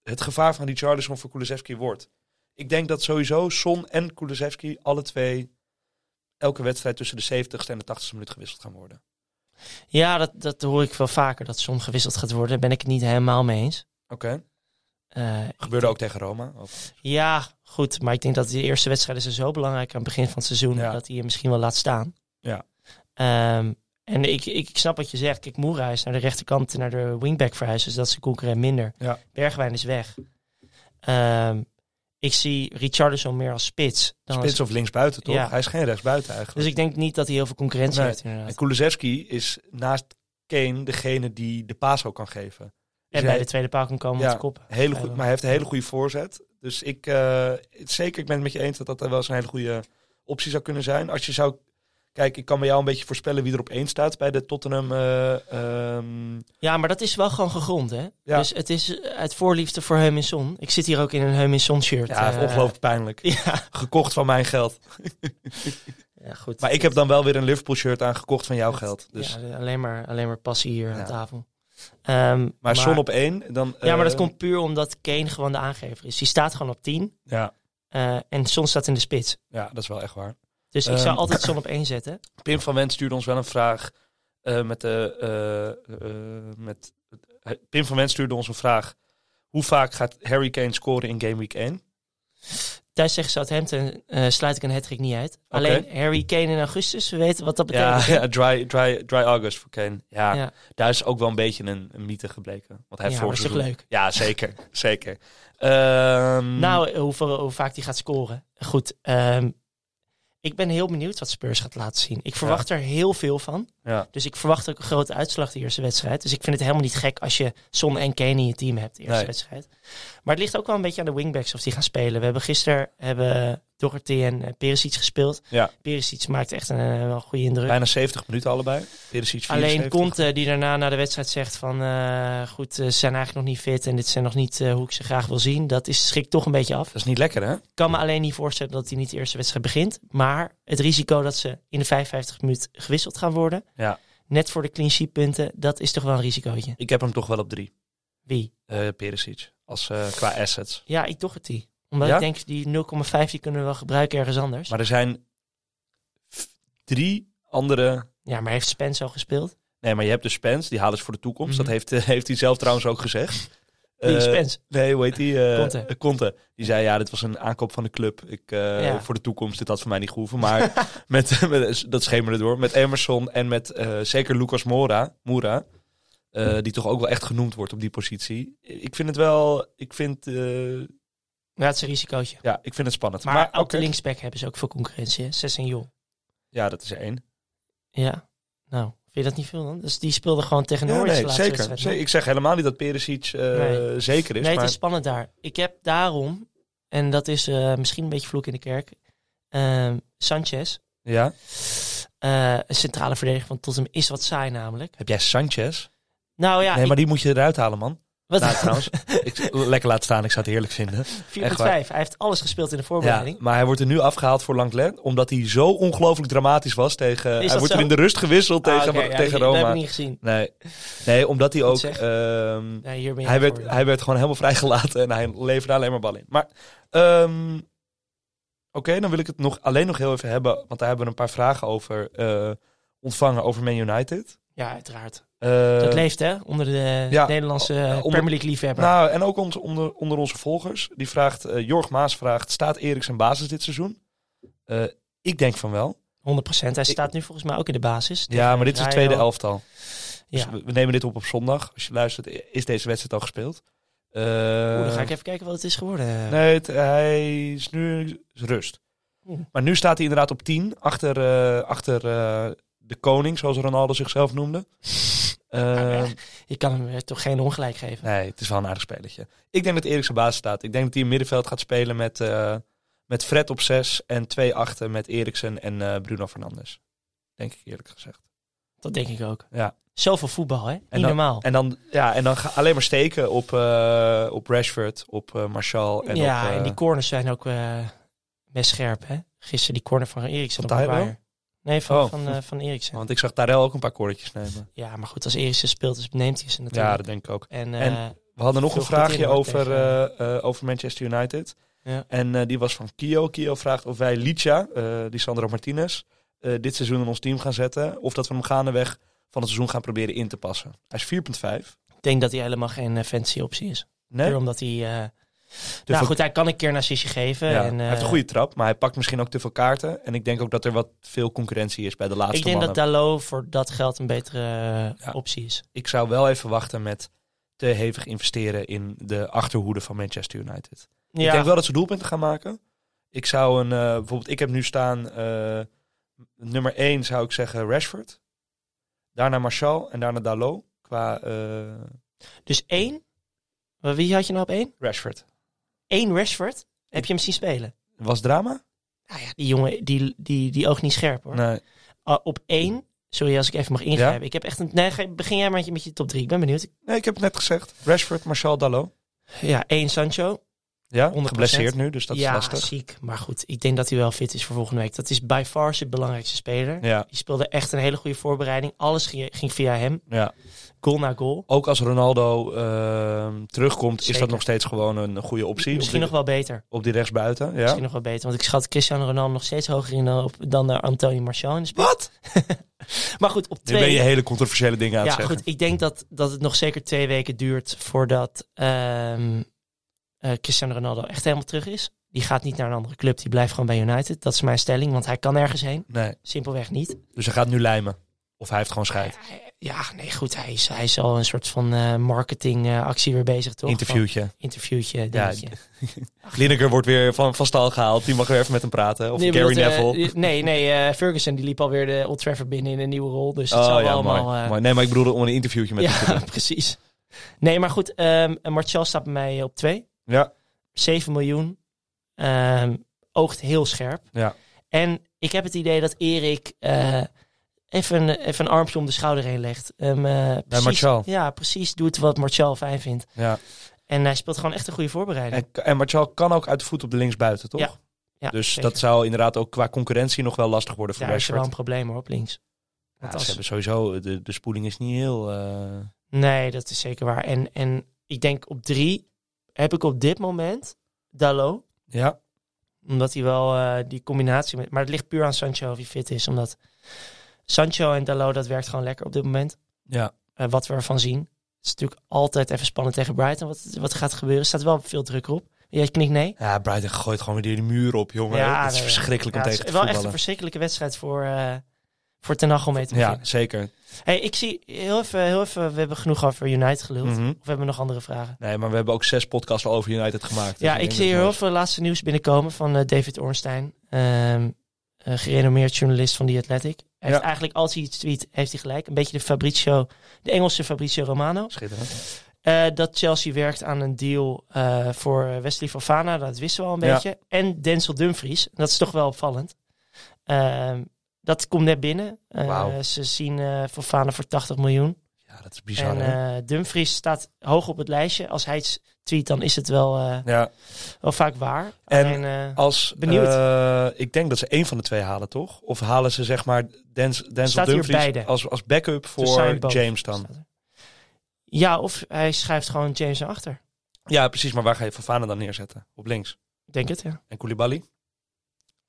het gevaar van Richarlison voor Kulusevski wordt. Ik denk dat sowieso Son en Kulusevski alle twee elke wedstrijd tussen de 70ste en de 80ste minuut gewisseld gaan worden.
Ja, dat, dat hoor ik wel vaker, dat soms gewisseld gaat worden. Daar ben ik het niet helemaal mee eens.
Oké.
Eh,
Gebeurde ook tegen Roma.
Oh,
Ook.
ja, goed. Maar ik denk dat die eerste wedstrijden zijn zo belangrijk aan het begin van het seizoen.
Ja.
Dat hij je misschien wel laat staan.
Ja.
Ehm, en ik, ik, ik snap wat je zegt. Kijk, Moera is naar de rechterkant en naar de wingback verhuisd. Dus dat is een concurrent minder.
Ja.
Bergwijn is weg. Ehm, ik zie Richardson meer als spits. Dan als-
Spits of linksbuiten, toch?
Ja.
Hij is geen rechtsbuiten eigenlijk.
Dus ik denk niet dat hij heel veel concurrentie
Nee.
heeft inderdaad.
En Kulusevski is naast Kane degene die de paas ook kan geven. Dus
En bij
hij-
de tweede paal kan komen
Ja,
met de koppen.
Hele
Ja,
goed,
wel.
maar hij heeft een hele goede voorzet. Dus ik, eh, het- zeker, ik ben het met je eens dat dat wel eens een hele goede optie zou kunnen zijn. Als je zou, kijk, ik kan bij jou een beetje voorspellen wie er op één staat bij de Tottenham. eh, ehm,
Ja, maar dat is wel gewoon gegrond, hè?
Ja.
Dus het is uit voorliefde voor Heuminson. Ik zit hier ook in een Heuminson shirt.
ja,
eh. *laughs*
ongelooflijk pijnlijk.
Ja,
Gekocht van mijn geld.
ja, ja, goed.
Maar ik heb dan wel weer een Liverpool shirt aangekocht van jouw geld. Dus.
Ja, alleen, maar, alleen maar passie hier
Ja.
aan tafel. Ehm,
maar, Son op één, dan...
Ja, maar dat
eh,
komt puur omdat Kane gewoon de aangever is. Die staat gewoon op 10
Ja,
eh, en Son staat in de spits.
ja, dat is wel echt waar.
Dus ik
Ehm,
zou altijd Son op 1 zetten.
Pim van Wens stuurde ons wel een vraag eh, met de... eh, eh, met, eh, Pim van Wens stuurde ons een vraag. Hoe vaak gaat Harry Kane scoren in Game Week 1?
Thuis tegen Southampton eh, sluit ik een hattrick niet uit. Alleen Harry Kane in augustus, we weten wat dat
Ja,
betekent. *laughs*
ja, dry, dry, dry August voor Kane. Ja,
Ja.
daar is ook wel een beetje een, een mythe gebleken. Want hij
Ja,
heeft
maar
vorig
is toch
seizoen-
leuk?
Ja, zeker. *laughs* zeker. Ehm,
Nou, eh, hoeveel, hoe vaak die gaat scoren. Goed, ehm, ik ben heel benieuwd wat Spurs gaat laten zien. Ik verwacht er heel veel van.
Ja.
Dus ik verwacht ook een grote uitslag de eerste wedstrijd. Dus ik vind het helemaal niet gek als je Son en Kane in je team hebt de eerste
Nee.
wedstrijd. Maar het ligt ook wel een beetje aan de wingbacks of die gaan spelen. We hebben gisteren hebben Doherty en eh, Perisic gespeeld.
Ja.
Perisic maakt echt een, eh, wel een goede indruk.
Bijna 70 minuten allebei. Perisic
Alleen
74.
Conte die daarna na de wedstrijd zegt van... eh, goed, eh, ze zijn eigenlijk nog niet fit en dit zijn nog niet eh, hoe ik ze graag wil zien. Dat is, schrikt toch een beetje af.
Dat is niet lekker, hè?
Ik kan me alleen niet voorstellen dat hij niet de eerste wedstrijd begint. Maar het risico dat ze in de 55 minuut gewisseld gaan worden...
Ja.
net voor de clean sheet punten, dat is toch wel een risicootje.
Ik heb hem toch wel op drie.
Wie?
eh Perisic. Als, eh, qua assets.
Ja, ik toch het die. Omdat
Ja?
ik denk, die 0,5 die kunnen we wel gebruiken ergens anders.
Maar er zijn f- drie andere...
ja, maar heeft Spence al gespeeld?
Nee, maar je hebt dus Spence. Die halen ze voor de toekomst.
Mhm.
Dat heeft, eh, heeft hij zelf trouwens ook gezegd.
Die
Eh,
Spence.
Nee, hoe heet die? eh
Conte.
eh, Conte. Die zei, ja, dit was een aankoop van de club. Ik, eh,
Ja.
Voor de toekomst, dit had voor mij niet gehoeven.
*laughs*
Maar met, eh, met, dat schemerde door. Met Emerson en met eh, zeker Lucas Moura, Moura eh, die toch ook wel echt genoemd wordt op die positie. Ik vind het wel, ik vind, eh,
Ja, het is een risicootje.
ja, ik vind het spannend.
Maar, op
oké.
de linksback hebben ze ook veel concurrentie. hè? Zes en Jol.
Ja, dat is er één.
Ja, nou, vind je dat niet veel dan? Dus die speelde gewoon tegen
Ja,
Norwich
nee,
de laatste
zeker.
wedstrijd.
Ze- Ik zeg helemaal niet dat Perisic eh,
Nee.
zeker is.
nee,
maar
het is spannend daar. Ik heb daarom, en dat is eh, misschien een beetje vloek in de kerk, ehm, Sanchez,
ja.
eh, een centrale verdediger van Tottenham, is wat saai namelijk.
Heb jij Sanchez?
Nou ja,
nee,
ik-
maar die moet je eruit halen,
*laughs*
man.
wat,
Nou, trouwens, ik, lekker laat staan. Ik zou het heerlijk vinden.
4.5. Hij heeft alles gespeeld in de
Ja,
voorbereiding.
maar hij wordt er nu afgehaald voor Langlet, omdat hij zo ongelooflijk dramatisch was tegen... hij
dat
wordt
zo?
er in de rust gewisseld
Ah,
tegen,
oké, ja,
tegen
die- Dat
Roma.
heb ik niet gezien.
Nee. nee, omdat hij ook...
zeg.
ehm,
Nee, hier ben je
hij,
voor.
werd, hij werd gewoon helemaal *laughs* vrijgelaten en hij leverde alleen maar ballen in. Maar, ehm, oké, dan wil ik het nog, alleen nog heel even hebben, want daar hebben we een paar vragen over eh, ontvangen over Man United.
Ja, uiteraard.
Eh,
dat leeft hè, onder de
ja,
Nederlandse eh,
onder-
Premier League liefhebber.
nou, en ook ons, onder, onder onze volgers. Die vraagt, eh, Jorg Maas vraagt, staat Erik zijn basis dit seizoen? Eh, ik denk van wel.
100%. Hij staat nu volgens mij ook in de basis.
Ja,
Tegen
maar dit is het
Rayo.
tweede elftal. Dus
Ja.
we we nemen dit op op zondag. Als je luistert, i- is deze wedstrijd al gespeeld. Eh,
Oeh, dan ga ik even kijken wat het is geworden.
Nee, het- hij is nu is rust.
Oeh.
Maar nu staat hij inderdaad op 10. Achter, eh, achter eh, de koning, zoals Ronaldo zichzelf
*laughs*
noemde. Eh,
Je kan hem eh, toch geen ongelijk geven.
nee, het is wel een aardig spelletje. Ik denk dat Erik zijn baas staat. Ik denk dat hij in middenveld gaat spelen met, eh, met Fred op 6 en twee achter met Eriksen en eh, Bruno Fernandes. Denk ik eerlijk gezegd.
Dat denk ik ook.
Ja.
Zoveel voetbal, hè? Niet
dan-
normaal.
En dan, ja, en dan ga- alleen maar steken op, eh, op Rashford, op eh, Martial en
ja,
op... eh,
en die corners zijn ook eh, best scherp, hè? Gisteren die corner van Eriksen op
Van Tyrell?
Maguire. Nee, van,
Oh.
van, eh, van Eriksen.
Want ik zag Tarel ook een paar koordjes nemen.
Ja, maar goed, als Eriksen speelt, dus neemt hij ze natuurlijk.
Ja, dat denk ik ook.
en,
en-
eh,
We hadden nog
Veel
een vraagje
goed in, hoor,
over,
tegen-
eh, eh, over Manchester United.
Ja.
En eh, die was van Kio. Kio vraagt of wij Licha, eh, die Sandro Martinez, eh, dit seizoen in ons team gaan zetten. Of dat we hem gaandeweg van het seizoen gaan proberen in te passen. Hij is 4,5.
ik denk dat hij helemaal geen eh, fancy optie is.
Nee,
Puur omdat hij... eh,
Te
nou
veel-
goed, hij kan een keer een assistje geven.
Dus Ja,
en,
hij
eh,
heeft een goede trap, maar hij pakt misschien ook te veel kaarten. En ik denk ook dat er wat veel concurrentie is bij de laatste
Ik denk dat
mannen.
Dalot voor dat geld een betere eh,
Ja.
optie is.
ik zou wel even wachten met te hevig investeren in de achterhoede van Manchester United. Ik
Ja,
denk wel dat ze doelpunten gaan maken. Ik zou een, eh, bijvoorbeeld, ik heb nu staan, eh, nummer 1 zou ik zeggen Rashford. Daarna Martial en daarna Dalot qua eh,
dus één... Wie had je nou op één?
Rashford.
Eén Rashford. Heb je hem zien spelen?
Was drama?
Nou ja, die jongen, die, die, die oogt niet scherp hoor.
Nee.
Ah, op één, sorry als ik even mag ingrijpen. Ik heb echt een, nee, ge- begin jij maar met je, met je top drie. Ik ben benieuwd.
nee, ik heb het net gezegd. Rashford, Martial, Dalot.
Ja, één Sancho.
Ja,
100%.
geblesseerd nu, dus dat
ja,
is lastig.
ziek. Maar goed, ik denk dat hij wel fit is voor volgende week. Dat is by far zijn belangrijkste speler.
Ja,
Die speelde echt een hele goede voorbereiding. Alles ging, ging via hem.
ja.
Goal na goal.
Ook als Ronaldo ehm, terugkomt, is
Zeker.
dat nog steeds gewoon een goede optie. op
Misschien
die-
nog wel beter.
Op die rechtsbuiten, ja.
Misschien nog wel beter. Want ik schat Cristiano Ronaldo nog steeds hoger in dan, op, dan eh, Anthony Martial in de spits.
Wat?
Maar goed, op
Nu
twee...
ben je hele controversiële dingen aan
ja,
het zeggen.
goed. Ik denk dat, dat het nog zeker twee weken duurt voordat ehm, eh, Cristiano Ronaldo echt helemaal terug is. Die gaat niet naar een andere club. Die blijft gewoon bij United. Dat is mijn stelling. Want hij kan ergens heen.
Nee,
Simpelweg niet.
dus hij gaat nu lijmen. Of hij heeft gewoon scheid.
Hij- Ja, nee, goed. Hij is, hij is al een soort van eh, marketingactie weer bezig, toch? Oh.
Interviewtje.
Van interviewtje, dingetje.
Lineker wordt weer van, van stal gehaald. Die mag weer even met hem praten. Of
Nee,
Gary
bedoelt, eh,
Neville.
nee, nee eh, Ferguson die liep alweer de Old Trafford binnen in een nieuwe rol. Dus het
oh
zal
ja,
wel
mooi,
allemaal... eh,
mooi. Nee, maar ik bedoelde om een interviewtje met hem te
*laughs* ja,
doen.
precies. Nee, maar goed. ehm Martial staat bij mij op twee.
Ja,
7 miljoen. Ehm, oogt heel scherp.
Ja.
En ik heb het idee dat Erik eh, even, even een armpje om de schouder heen legt. Ehm, eh, precies-
Martial.
Ja, precies. Doet wat Martial fijn vindt.
ja.
En hij speelt gewoon echt een goede voorbereiding.
En, en Martial kan ook uit de voet op de linksbuiten, toch?
Ja, Ja,
dus
zeker.
dat zou inderdaad ook qua concurrentie nog wel lastig worden voor
Daar is er
Rashford.
wel een probleem hoor, op links.
Ja,
Want
ze
als-
hebben sowieso, de, de spoeling is niet heel... eh,
Nee, dat is zeker waar. En, en ik denk op drie heb ik op dit moment Dalo.
Ja,
Omdat hij wel eh, die combinatie met... Maar het ligt puur aan Sancho of hij fit is. Omdat Sancho en Dalo, dat werkt gewoon lekker op dit moment.
ja.
Eh, wat we ervan zien. Het is natuurlijk altijd even spannend tegen Brighton. Wat, wat gaat gebeuren? Er staat wel veel druk op. Jij knikt nee.
Ja, Brighton gooit gewoon weer die muur op, jongen.
Ja,
dat is
nee.
verschrikkelijk
Ja,
om
het is
tegen te
wel echt een
voetballen.
verschrikkelijke wedstrijd voor, eh voor Ten Hag om mee te beginnen.
Ja, zeker.
Hey, ik zie heel even, heel even, we hebben genoeg over United geluld.
Mhm.
Of hebben we nog andere vragen?
Nee, maar we hebben ook zes podcasts al over United gemaakt.
Ja,
Dus
ik
denk
zie
dat
hier heel
het
veel laatste nieuws binnenkomen van eh, David Ornstein. Ehm, een gerenommeerd journalist van The Athletic. Hij heeft
Ja.
eigenlijk, als hij iets tweet, heeft hij gelijk. Een beetje de Fabrizio, de Engelse Fabrizio Romano.
Schitterend.
Eh, dat Chelsea werkt aan een deal eh, voor Wesley Fofana, dat wisten we al een
Ja.
beetje. En Denzel Dumfries, dat is toch wel opvallend. Ehm, dat komt net binnen. Eh,
Wauw.
Ze zien eh, Fofana voor 80 miljoen.
Ja, dat is bizar,
en
hè?
eh, Dumfries staat hoog op het lijstje. Als hij iets tweet, dan is het wel, eh,
Ja,
wel vaak waar.
En
Alleen, eh,
als...
Benieuwd.
eh, ik denk dat ze één van de twee halen, toch? Of halen ze, zeg maar, Dens, Denzel
Staat hier
Dumfries
beide.
als, als backup voor
zijn boven.
James dan?
ja, of hij schrijft gewoon James achter.
Ja, precies. Maar waar ga je Fofana dan neerzetten? Op links.
Ik denk het, ja.
En Koulibaly?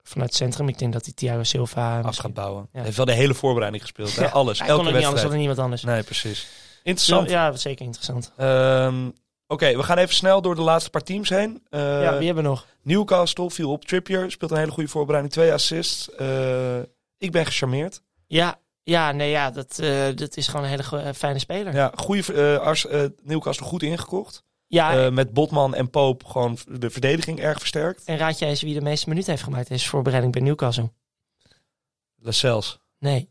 Vanuit het centrum. Ik denk dat hij Thiago Silva...
Af
misschien-
gaat bouwen.
Ja.
Hij heeft wel de hele voorbereiding gespeeld, hè?
Ja,
Alles.
Hij
elke
kon ook niet anders
wedstrijd.
dan niemand anders.
Nee, precies. Interessant.
Ja, zeker interessant.
Ehm, Oké, we gaan even snel door de laatste paar teams heen. Eh,
ja, wie hebben we nog?
Newcastle viel op. Trippier speelt een hele goede voorbereiding. Twee assists. Eh, ik ben gecharmeerd.
Ja, ja, nee, ja, dat, eh, dat is gewoon een hele go- eh, fijne speler. Ja,
Ja, goede, eh Ars- eh, Newcastle goed ingekocht.
Ah,
Eh, met Botman en Poop gewoon de verdediging erg versterkt.
en raad jij eens wie de meeste minuten heeft gemaakt deze voorbereiding bij Newcastle?
Lascelles.
Nee.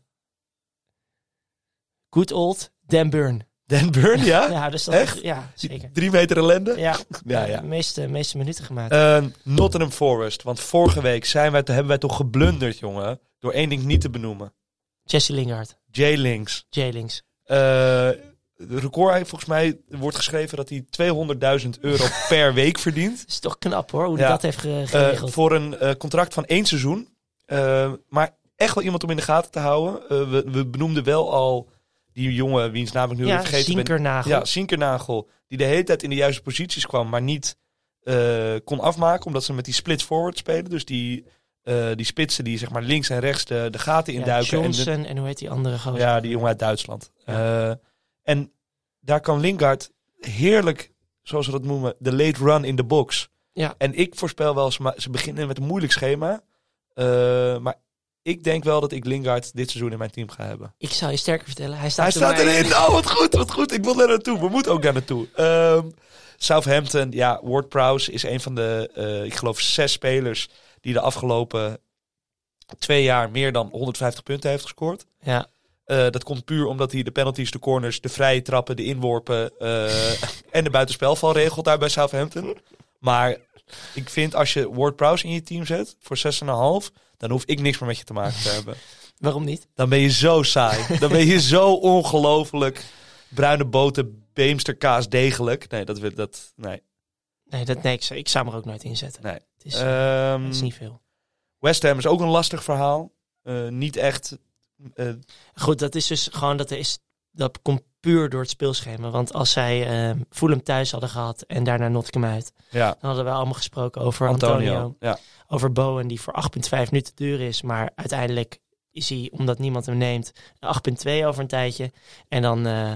Good old Dan Burn.
Dan Burn, ja?
Ja, dus dat
Echt?
Ja, zeker.
Drie meter ellende.
Ja,
*laughs* Ja, ja.
De meeste, meeste minuten gemaakt.
Eh, Nottingham Forest. Want vorige week zijn wij, hebben wij toch geblunderd, jongen. Door één ding niet te benoemen.
Jesse Lingard,
J-Links.
Jay Links.
Eh, de record, hij- volgens mij wordt geschreven dat hij 200.000
*laughs*
euro per week verdient.
Dat is toch knap hoor, hoe hij
Ja.
dat heeft ge-
Eh,
geregeld.
voor een eh, contract van één seizoen. Eh, maar echt wel iemand om in de gaten te houden. Eh, we, we benoemden wel al die jongen, wiens naam ik nu weer
ja,
vergeten ben.
Zinkernagel.
Ja, Zinkernagel. Die de hele tijd in de juiste posities kwam, maar niet eh, kon afmaken. Omdat ze met die split forward spelen. Dus die, eh, die spitsen die zeg maar links en rechts de, de gaten
Ja,
induiken. en de-
Johnson en, hoe heet die andere gozer?
ja, die jongen uit Duitsland. Eh, en daar kan Lingard heerlijk, zoals we dat noemen, de late run in de box.
Ja.
En ik voorspel wel, ze, ma- ze beginnen met een moeilijk schema. Eh, maar ik denk wel dat ik Lingard dit seizoen in mijn team ga hebben.
Ik zou je sterker vertellen, hij staat,
Hij
er
staat
maar-
erin. Oh, wat goed, wat goed. Ik wil daar naartoe. We moeten ook daar naartoe. Ehm, Southampton, ja, Ward Prowse is een van de, eh, ik geloof, zes spelers die de afgelopen twee jaar meer dan 150 punten heeft gescoord.
Ja,
Eh, dat komt puur omdat hij de penalties, de corners, de vrije trappen, de inworpen eh, *laughs* en de buitenspelval regelt daar bij Southampton. Maar ik vind als je Ward Prowse in je team zet voor 6,5, dan hoef ik niks meer met je te maken te hebben.
waarom niet?
Dan ben je zo saai. Dan ben je zo ongelooflijk bruine boten, beemster, kaas, degelijk. Nee, dat wil dat. Nee.
Nee, dat, nee ik, zou- ik zou hem er ook nooit inzetten.
Nee.
Het is,
Ehm,
het is niet veel.
West Ham is ook een lastig verhaal. Eh, niet echt. eh,
Goed, dat is dus gewoon dat is dat komt puur door het speelschema. Want als zij ehm Fulham thuis hadden gehad en daarna Nottingham uit,
ja,
dan hadden we allemaal gesproken over
Antonio.
Antonio,
Ja,
over Bowen die voor 8,5 minuten duur is, maar uiteindelijk is hij omdat niemand hem neemt 8,2 over een tijdje en dan eh,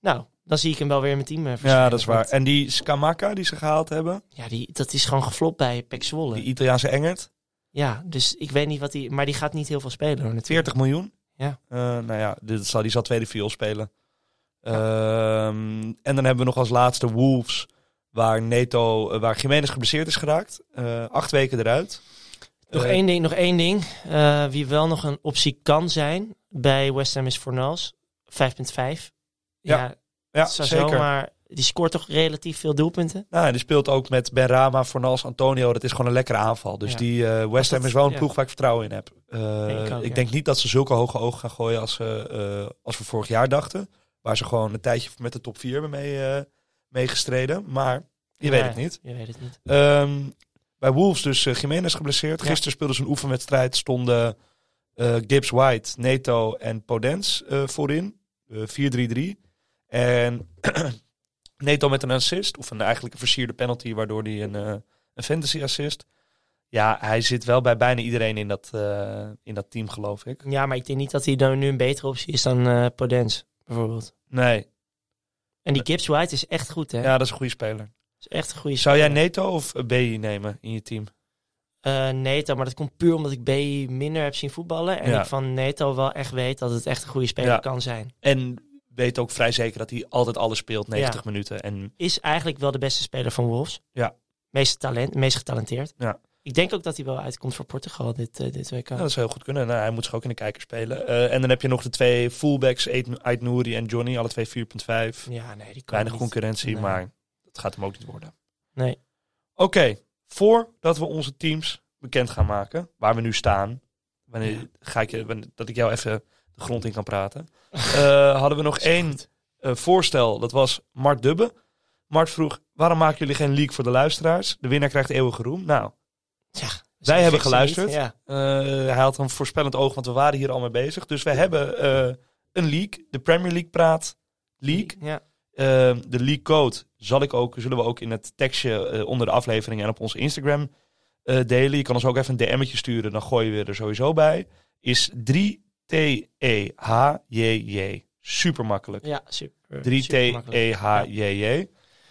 nou, dan zie ik hem wel weer in mijn team. eh,
ja, dat is
verschijnen.
waar.
Want,
En die Scamacca die ze gehaald hebben,
Ja, die, dat is gewoon geflopt bij Pek Zwolle.
die Italiaanse Engert,
Ja, dus ik weet niet wat die, maar die gaat niet heel veel spelen hoor, natuurlijk.
40 miljoen.
Ja.
Eh, nou ja, dit zal, die zal tweede viool spelen. Ehm, en dan hebben we nog als laatste Wolves, waar Neto, eh, waar Jiménez geblesseerd is geraakt. Eh, acht weken eruit.
Nog
Eh,
één ding, nog één ding. Eh, wie wel nog een optie kan zijn bij West Ham is Fornals. 5.5.
Ja, Ja,
het zou
zeker.
zomaar- die scoort toch relatief veel doelpunten.
Nou, en die speelt ook met Benrama, Fornals, Antonio. Dat is gewoon een lekkere aanval. Dus
Ja.
die eh, West Ham
dat-
is wel een
ja.
ploeg waar ik vertrouwen in heb. Eh,
ik
ik
ook, ja.
denk niet dat ze zulke hoge ogen gaan gooien als, ze, eh, als we vorig jaar dachten. Waar ze gewoon een tijdje met de top 4 hebben mee, eh, meegestreden. Maar je weet
Maar
het niet.
Je weet het niet.
Ehm, bij Wolves dus eh Jiménez geblesseerd.
Ja.
Gisteren speelden ze een oefenwedstrijd. Stonden eh, Gibbs White, Neto en Podens eh, voorin. Eh, 4-3-3. En *clears throat* Neto met een assist. Of een, eigenlijk een versierde penalty, waardoor hij een, eh, een fantasy assist. Ja, hij zit wel bij bijna iedereen in dat, eh, in dat team, geloof ik.
Ja, maar ik denk niet dat hij dan nu een betere optie is dan eh Podence, bijvoorbeeld.
Nee,
En die Gibbs White is echt goed, hè?
ja, dat is een goede speler.
Is echt een goede
Zou jij
speler.
Neto of BI nemen in je team?
Eh, Neto, maar dat komt puur omdat ik B minder heb zien voetballen. En
Ja.
ik van Neto wel echt weet dat het echt een goede speler
Ja.
kan zijn.
En weet ook vrij zeker dat hij altijd alles speelt, 90 minuten. En
is eigenlijk wel de beste speler van Wolves.
Ja.
Meest, talent, meest getalenteerd.
Ja.
Ik denk ook dat hij wel uitkomt voor Portugal dit, eh, dit WK.
Ja, dat zou heel goed kunnen. Nou, hij moet zich ook in de kijker spelen. Eh, en dan heb je nog de twee fullbacks, Eid- Eid Nouri en Johnny. Alle twee 4.5.
Ja, nee, die kan
Weinig
niet.
concurrentie,
Nee.
maar dat gaat hem ook niet worden.
Nee.
Oké, voordat we onze teams bekend gaan maken, waar we nu staan. Wanneer
Ja.
ga ik, je- wanneer- dat ik jou even de grond in kan
*laughs*
praten. Eh, hadden we nog één eh, voorstel, dat was Mart Dubbe. Mart vroeg, waarom maken jullie geen leak voor de luisteraars? De winnaar krijgt eeuwige roem. Nou,
Ja, dat is
Wij
een
hebben
fikse
geluisterd.
niet. Ja.
eh, hij had een voorspellend oog, want we waren hier al mee bezig. Dus we hebben eh, een leak, de Premier League praat leak.
Ja.
Eh, de leak code zal ik ook, zullen we ook in het tekstje eh, onder de aflevering en op onze Instagram eh, delen. Je kan ons ook even een DM'tje sturen, dan gooien we er sowieso bij. Is E 3-T-E-H-J-J. Super makkelijk.
ja, super.
E.
supermakkelijk.
Drie 3-T-E-H-J-J.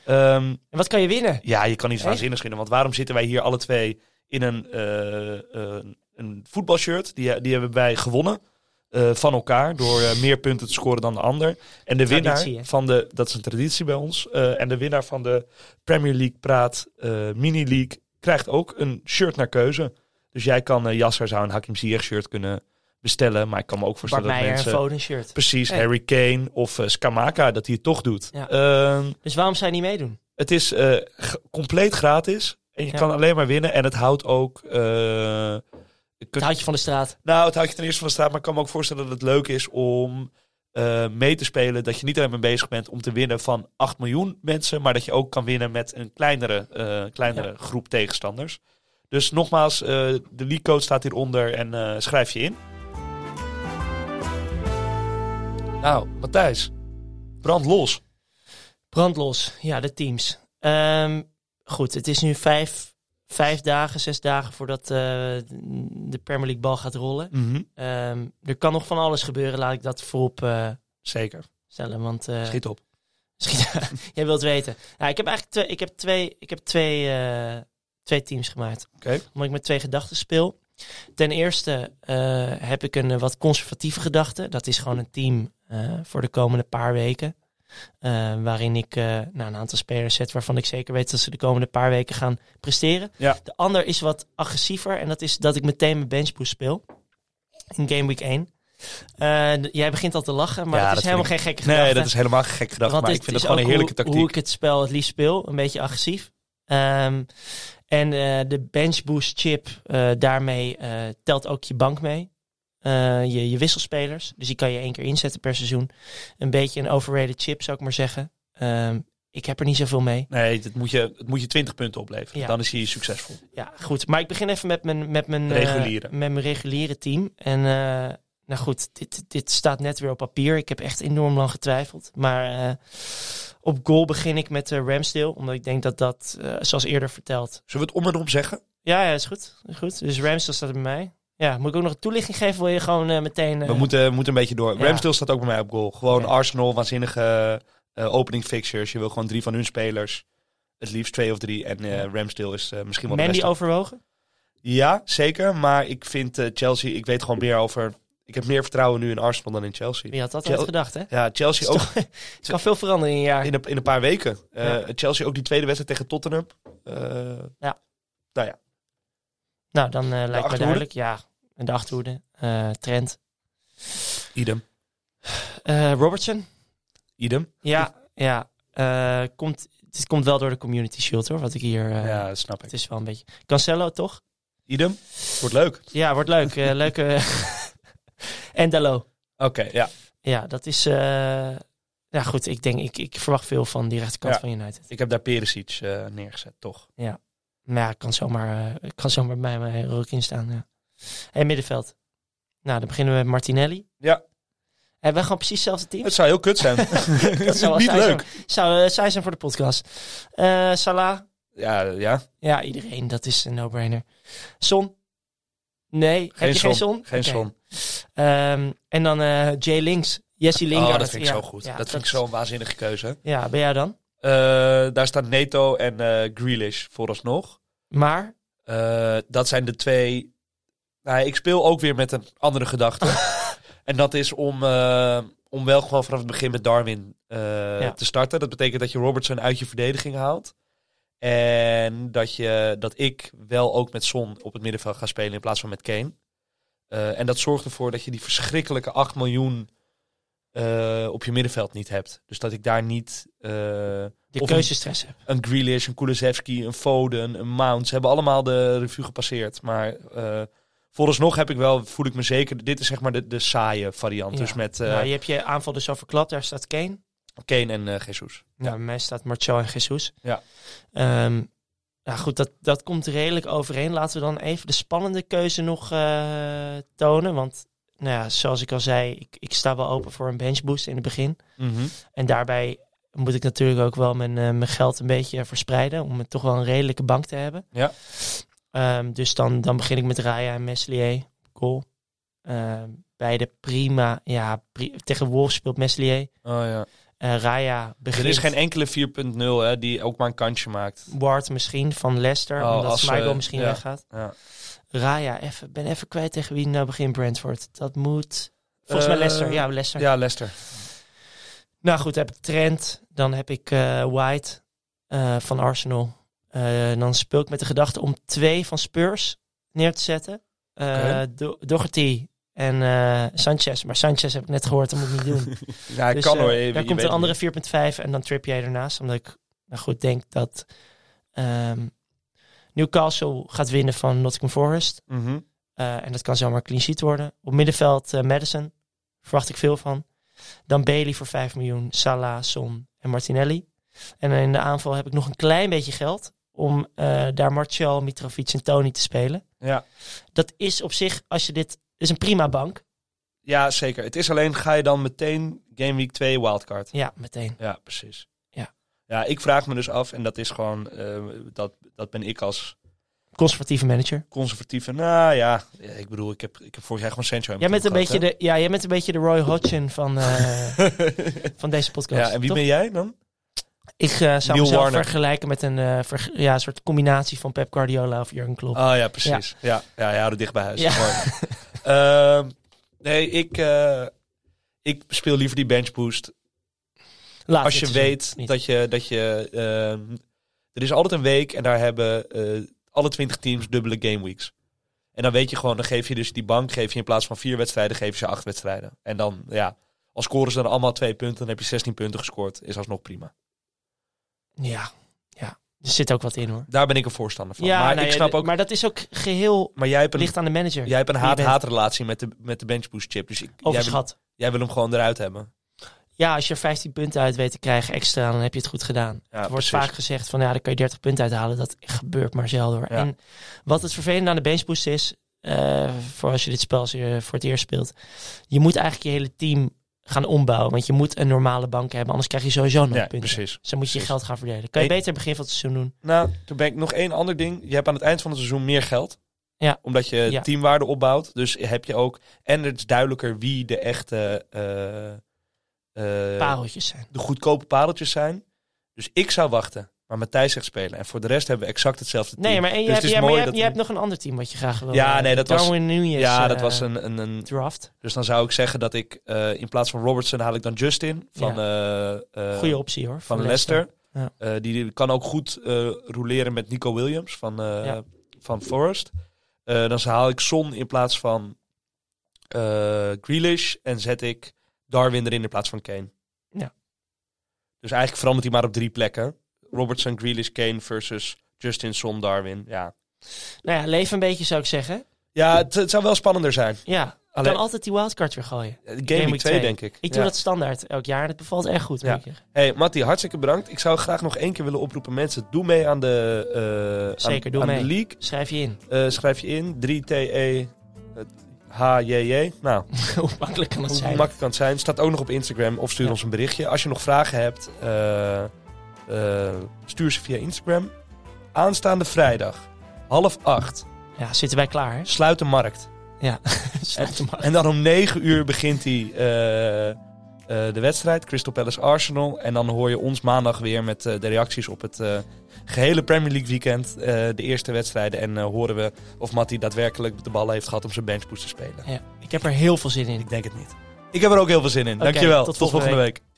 Ehm,
En wat kan je winnen?
ja, je kan iets
Echt?
waanzinnigs vinden. Want waarom zitten wij hier alle twee in een, eh, een- een voetbalshirt? Die, die hebben wij gewonnen eh, van elkaar door eh, meer punten te scoren dan de ander. En de
Traditie,
winnaar
hè?
van de, dat is een traditie bij ons. Eh, en de winnaar van de Premier League Praat eh, Mini League krijgt ook een shirt naar keuze. Dus jij kan eh Jasser zou een Hakim Ziyech shirt kunnen bestellen. Maar ik kan me ook
Bart
voorstellen dat
Meijer en
mensen...
Foden shirt.
Precies,
Hey.
Harry Kane of eh, Skamaka, dat hij het toch doet.
Ja.
Ehm,
Dus waarom zou je niet meedoen?
het is eh, g- compleet gratis. En je
Ja.
kan alleen maar winnen. En het houdt ook. eh, je
Het
kunt-
houtje van de straat.
nou, het houdt je ten eerste van de straat. Maar ik kan me ook voorstellen dat het leuk is om eh, mee te spelen. Dat je niet alleen maar bezig bent om te winnen van 8 miljoen mensen. Maar dat je ook kan winnen met een kleinere, eh, kleinere groep tegenstanders. Dus nogmaals, eh, de league code staat hieronder. En eh, schrijf je in. Nou, Matthijs. Brand los.
Brandlos. Ja, de teams. Ehm, goed, het is nu vijf, vijf dagen, zes dagen voordat eh, de Premier League bal gaat rollen.
Mhm.
Ehm, er kan nog van alles gebeuren, laat ik dat voorop eh,
Zeker.
stellen. Want eh,
Schiet op.
schiet- *laughs* jij wilt weten. Nou, ik heb eigenlijk twee, ik heb twee, ik heb twee, eh, twee teams gemaakt.
Oké.
Omdat ik met twee gedachten speel. Ten eerste eh, heb ik een eh, wat conservatieve gedachte. Dat is gewoon een team eh, voor de komende paar weken. Eh, waarin ik eh, nou, een aantal spelers zet waarvan ik zeker weet dat ze de komende paar weken gaan presteren.
Ja.
De ander is wat agressiever en dat is dat ik meteen mijn benchboost speel. In Game Week 1. Eh, d- jij begint al te lachen, maar
Ja,
dat
dat
is
vind
helemaal geen gekke gedachte.
Nee, dat is helemaal gek gedacht.
Want
maar
dit
ik vind
is
het gewoon een
ook
heerlijke
hoe,
tactiek.
Hoe ik het spel het liefst speel, een beetje agressief. Ehm, en eh, de bench boost chip, eh, daarmee eh, telt ook je bank mee. Eh, je, je wisselspelers. Dus die kan je één keer inzetten per seizoen. Een beetje een overrated chip, zou ik maar zeggen. Ehm, ik heb er niet zoveel mee.
Nee, het moet, je, het moet je 20 punten opleveren.
Ja.
Dan is hij succesvol.
Ja, goed. Maar ik begin even met mijn, met mijn, eh,
Reguliere.
met mijn reguliere team. En eh, nou goed, dit, dit staat net weer op papier. Ik heb echt enorm lang getwijfeld. Maar eh, op goal begin ik met eh, Ramsdale. Omdat ik denk dat dat, eh, zoals eerder verteld...
Zullen we het om en om zeggen?
Ja, ja, is goed. Is goed. Dus Ramsdale staat er bij mij. Ja, moet ik ook nog een toelichting geven? Wil je gewoon eh, meteen... eh,
We moeten, we moeten een beetje door.
Ja.
Ramsdale staat ook bij mij op goal. Gewoon
Oké.
Arsenal, waanzinnige eh, opening fixtures. Je wil gewoon drie van hun spelers. Het liefst twee of drie. En eh, Ramsdale is eh, misschien wel de
Mandy
beste.
overwogen?
Ja, zeker. Maar ik vind eh, Chelsea... Ik weet gewoon meer over... Ik heb meer vertrouwen nu in Arsenal dan in Chelsea.
Wie had dat
Chel-
ooit gedacht, hè?
Ja, Chelsea ook
Het kan veel veranderen in een jaar.
in een, in een paar weken. Eh,
Ja.
Chelsea ook die tweede wedstrijd tegen Tottenham. Eh,
Nou, dan eh, lijkt me
achterhoede?
duidelijk. Ja, en de achterhoede. eh Trent.
idem.
Eh, Robertson.
Idem.
Ja, ja. eh, komt, het komt wel door de community shield hoor, wat ik hier... eh,
ja, dat snap ik.
Het is wel een beetje... Cancelo toch?
Idem. Wordt leuk.
Ja, wordt
*laughs*
leuk. eh, leuke... *laughs* en Dalo.
Oké, ja.
Ja, dat is... eh, Ja goed, ik denk, ik, ik verwacht veel van die rechterkant
Ja.
van United.
Ik heb daar Perisic eh, neergezet, toch?
Maar ja, kan zomaar, eh, kan zomaar bij mij er ook in staan. Ja. En middenveld. Nou, dan beginnen we met Martinelli.
Ja.
Hebben we gewoon precies hetzelfde team?
Het zou heel kut *laughs* zijn.
Dat zou wel
niet
saai
leuk.
zijn. Zou eh, saai zijn voor de podcast. Eh, Salah.
Ja, ja.
Ja, iedereen. Dat is een no-brainer. Son? Nee. Heb je geen zon?
Geen Oh, zon.
en dan eh, Jay Links. Jesse Lingard.
Oh, dat vind ik
Ja,
zo goed.
ja,
dat vind ik zo'n waanzinnige keuze.
Ja, ben jij dan?
Eh, daar staan Neto en eh Grealish vooralsnog.
Maar,
Eh, dat zijn de twee... Nou, ja, ik speel ook weer met een andere gedachte. en dat is om, eh, om wel gewoon vanaf het begin met Darwin eh,
Ja.
te starten. Dat betekent dat je Robertson uit je verdediging haalt. En dat, je, dat ik wel ook met Son op het middenveld ga spelen in plaats van met Kane. Eh, en dat zorgt ervoor dat je die verschrikkelijke 8 miljoen eh, op je middenveld niet hebt. Dus dat ik daar niet... eh,
de
Of
keuzestress heb.
een Grealish, een Kulusevski, een Foden, een Mount. Ze hebben allemaal de revue gepasseerd. Maar eh vooralsnog heb ik wel, voel ik me zeker... Dit is zeg maar de, de saaie variant.
Ja.
Dus met eh,
nou, je hebt je aanval dus al verklapt. Daar staat Kane.
Kane en eh, Jesus.
Nou, bij mij staat Marcel en Jesus.
Ja.
Ehm, nou goed, dat, dat komt redelijk overeen. Laten we dan even de spannende keuze nog eh, tonen. Want, nou ja, zoals ik al zei, ik, ik sta wel open voor een benchboost in het begin.
Mhm.
En daarbij moet ik natuurlijk ook wel mijn, eh, mijn geld een beetje verspreiden. Om het toch wel een redelijke bank te hebben.
Ja.
Ehm, dus dan, dan begin ik met Raya en Meslier. Goal. Ehm, beide prima. Ja, pri- tegen Wolves speelt Meslier.
Oh, ja.
Eh Raya
Er
begint.
is geen enkele 4.0 hè, die ook maar een kansje maakt.
Ward misschien van Leicester.
Oh,
omdat
als,
Smigel
eh,
misschien
ja.
weggaat.
Ja.
Raya, even, ben even kwijt tegen wie nou begint Brentford. Dat moet... Volgens mij
Eh,
Leicester. Ja, Leicester.
Ja, Lester.
Nou goed, heb ik Trent. Dan heb ik eh, White eh, van Arsenal. Eh, dan speel ik met de gedachte om twee van Spurs neer te zetten. Eh
Oké.
Do- Doherty en eh, Sanchez. Maar Sanchez heb ik net gehoord, dat moet ik niet doen.
*laughs* Ja, ik
Dus,
kan
eh,
hoor. je-
Daar
je
komt
weet
een andere
het
4.5 en dan Trippier ernaast. Omdat ik nou goed denk dat ehm, Newcastle gaat winnen van Nottingham Forest.
niet. Mhm.
Eh, en dat kan zomaar clean sheet worden. Op middenveld eh, Madison. Verwacht ik veel van. Dan Bailey voor 5 miljoen. Salah, Son en Martinelli. En in de aanval heb ik nog een klein beetje geld. Om eh, daar Martial, Mitrovic en Tony te spelen.
Ja.
Dat is op zich, als je dit... is een prima bank.
ja, zeker. Het is alleen, ga je dan meteen Game Week 2 wildcard?
Ja, meteen.
Ja, precies.
Ja.
ja, ik vraag me dus af, en dat is gewoon, eh, dat, dat ben ik als
Conservatieve manager.
conservatieve. Nou ja, ja, ik bedoel, ik heb, ik heb vorig jaar gewoon Sancho. in
Jij
mijn
bent, een
ploeg
beetje de, ja, jij bent een beetje de Roy Hodgson
*laughs*
van, eh,
gehad, hè?
van deze podcast.
ja, en wie
toch?
ben jij dan?
Ik eh, zou
Neil
mezelf
Warner.
vergelijken met een eh, verg- ja, soort combinatie van Pep Guardiola of Jurgen Klopp.
Ah ja, precies. Ja, ja, ja, de dicht bij huis.
Ja. *laughs*
Mooi. Ehm, nee, ik, eh, ik speel liever die bench boost. Als
Laat Ah, dit
je
seizoen
weet
niet.
dat je, dat je ehm, er is altijd een week en daar hebben eh, alle 20 teams dubbele game weeks. En dan weet je gewoon, dan geef je dus die bank, geef je in plaats van vier wedstrijden, geef je ze acht wedstrijden. En dan, ja, als scoren ze dan allemaal twee punten, dan heb je 16 punten gescoord. Is alsnog prima.
Ja, ja, er zit ook wat in hoor.
Daar ben ik een voorstander van.
Ja,
maar
nou
ik
ja,
snap
d-
ook. Maar,
Maar dat is ook geheel
jij hebt een,
ligt aan de manager.
jij hebt een
wie je bent.
haat-haat relatie met de, met de benchboost chip. Dus ik, jij, wil,
Overschat.
jij wil hem gewoon eruit hebben.
ja, als je er 15 punten uit weet te krijgen extra, dan heb je het goed gedaan.
Ja,
er
precies.
wordt vaak gezegd van ja, dan kan je 30 punten uithalen. Dat gebeurt maar zelden hoor.
Ja.
En wat het vervelende aan de benchboost is, eh, voor als je dit spel als je voor het eerst speelt, je moet eigenlijk je hele team gaan ombouwen. Want je moet een normale bank hebben, anders krijg je sowieso nooit
Ja,
punten.
precies.
Dus dan moet je je
Precies.
geld gaan verdelen. Kan je
Eén-
beter begin van het seizoen doen.
Nou, toen ben ik nog één ander ding. Je hebt aan het eind van het seizoen meer geld.
Ja.
Omdat je
Ja.
teamwaarde opbouwt. Dus heb je ook. En het is duidelijker wie de echte. eh, eh,
Pareltjes zijn.
de goedkope pareltjes zijn. Dus ik zou wachten. Maar Matthijs zegt spelen. En voor de rest hebben we exact hetzelfde team.
Nee, maar en je,
Dus
hebt,
het is
ja, maar je,
mooi
hebt,
dat
je
we-
hebt nog een ander team wat je graag wil.
Ja,
eh,
nee, dat was-
Darwin Nunez,
ja, dat
eh,
was een, een, een.
draft.
Dus dan zou ik zeggen dat ik eh, in plaats van Robertson haal ik dan Justin van, eh, eh,
Goede optie hoor.
van
voor
Leicester.
Ja.
Eh, die kan ook goed eh roleren met Nico Williams van, eh,
Ja.
van Forest. Eh, dan haal ik Son in plaats van eh Grealish en zet ik Darwin erin in plaats van Kane.
Ja.
Dus eigenlijk verandert hij maar op drie plekken. Robertson, Grealish, Kane versus Justin, Son, Darwin. Ja,
Nou ja, leef een beetje zou ik zeggen.
ja het, het zou wel spannender zijn.
Ja,
Alleen-
kan altijd die wildcard weer gooien.
Eh, Game Week
Week
2
2.
denk ik.
Ik
Ja.
doe dat standaard elk jaar en het bevalt echt goed.
Ja.
moet ik zeggen.
Hey Matti, hartstikke bedankt. Ik zou graag nog één keer willen oproepen. Mensen, doe mee aan de, eh,
Zeker,
aan,
doe
aan
mee.
de league.
Schrijf je in.
Eh, schrijf je in. 3TE eh, HJJ. Nou,
Hoe makkelijk kan dat
*laughs* hoe
zijn?
makkelijk kan het zijn. Staat ook nog op Instagram of stuur
Ja.
ons een berichtje. Als je nog vragen hebt, eh, eh, stuur ze via Instagram. Aanstaande vrijdag, half acht,
Ja, zitten wij
*laughs*
klaar. Hè?
sluit de markt.
Sluit hem af.
En dan om negen uur begint die, eh, eh, de wedstrijd. Crystal Palace Arsenal. En dan hoor je ons maandag weer met eh, de reacties op het eh, gehele Premier League weekend. eh, de eerste wedstrijden. En eh, horen we of Matty daadwerkelijk de bal heeft gehad om zijn benchboost te spelen.
Ja, ik heb er heel veel zin in.
Ik denk het niet. Ik heb er ook heel veel zin in.
Oké,
Dankjewel.
tot
tot
volgende
volgende week.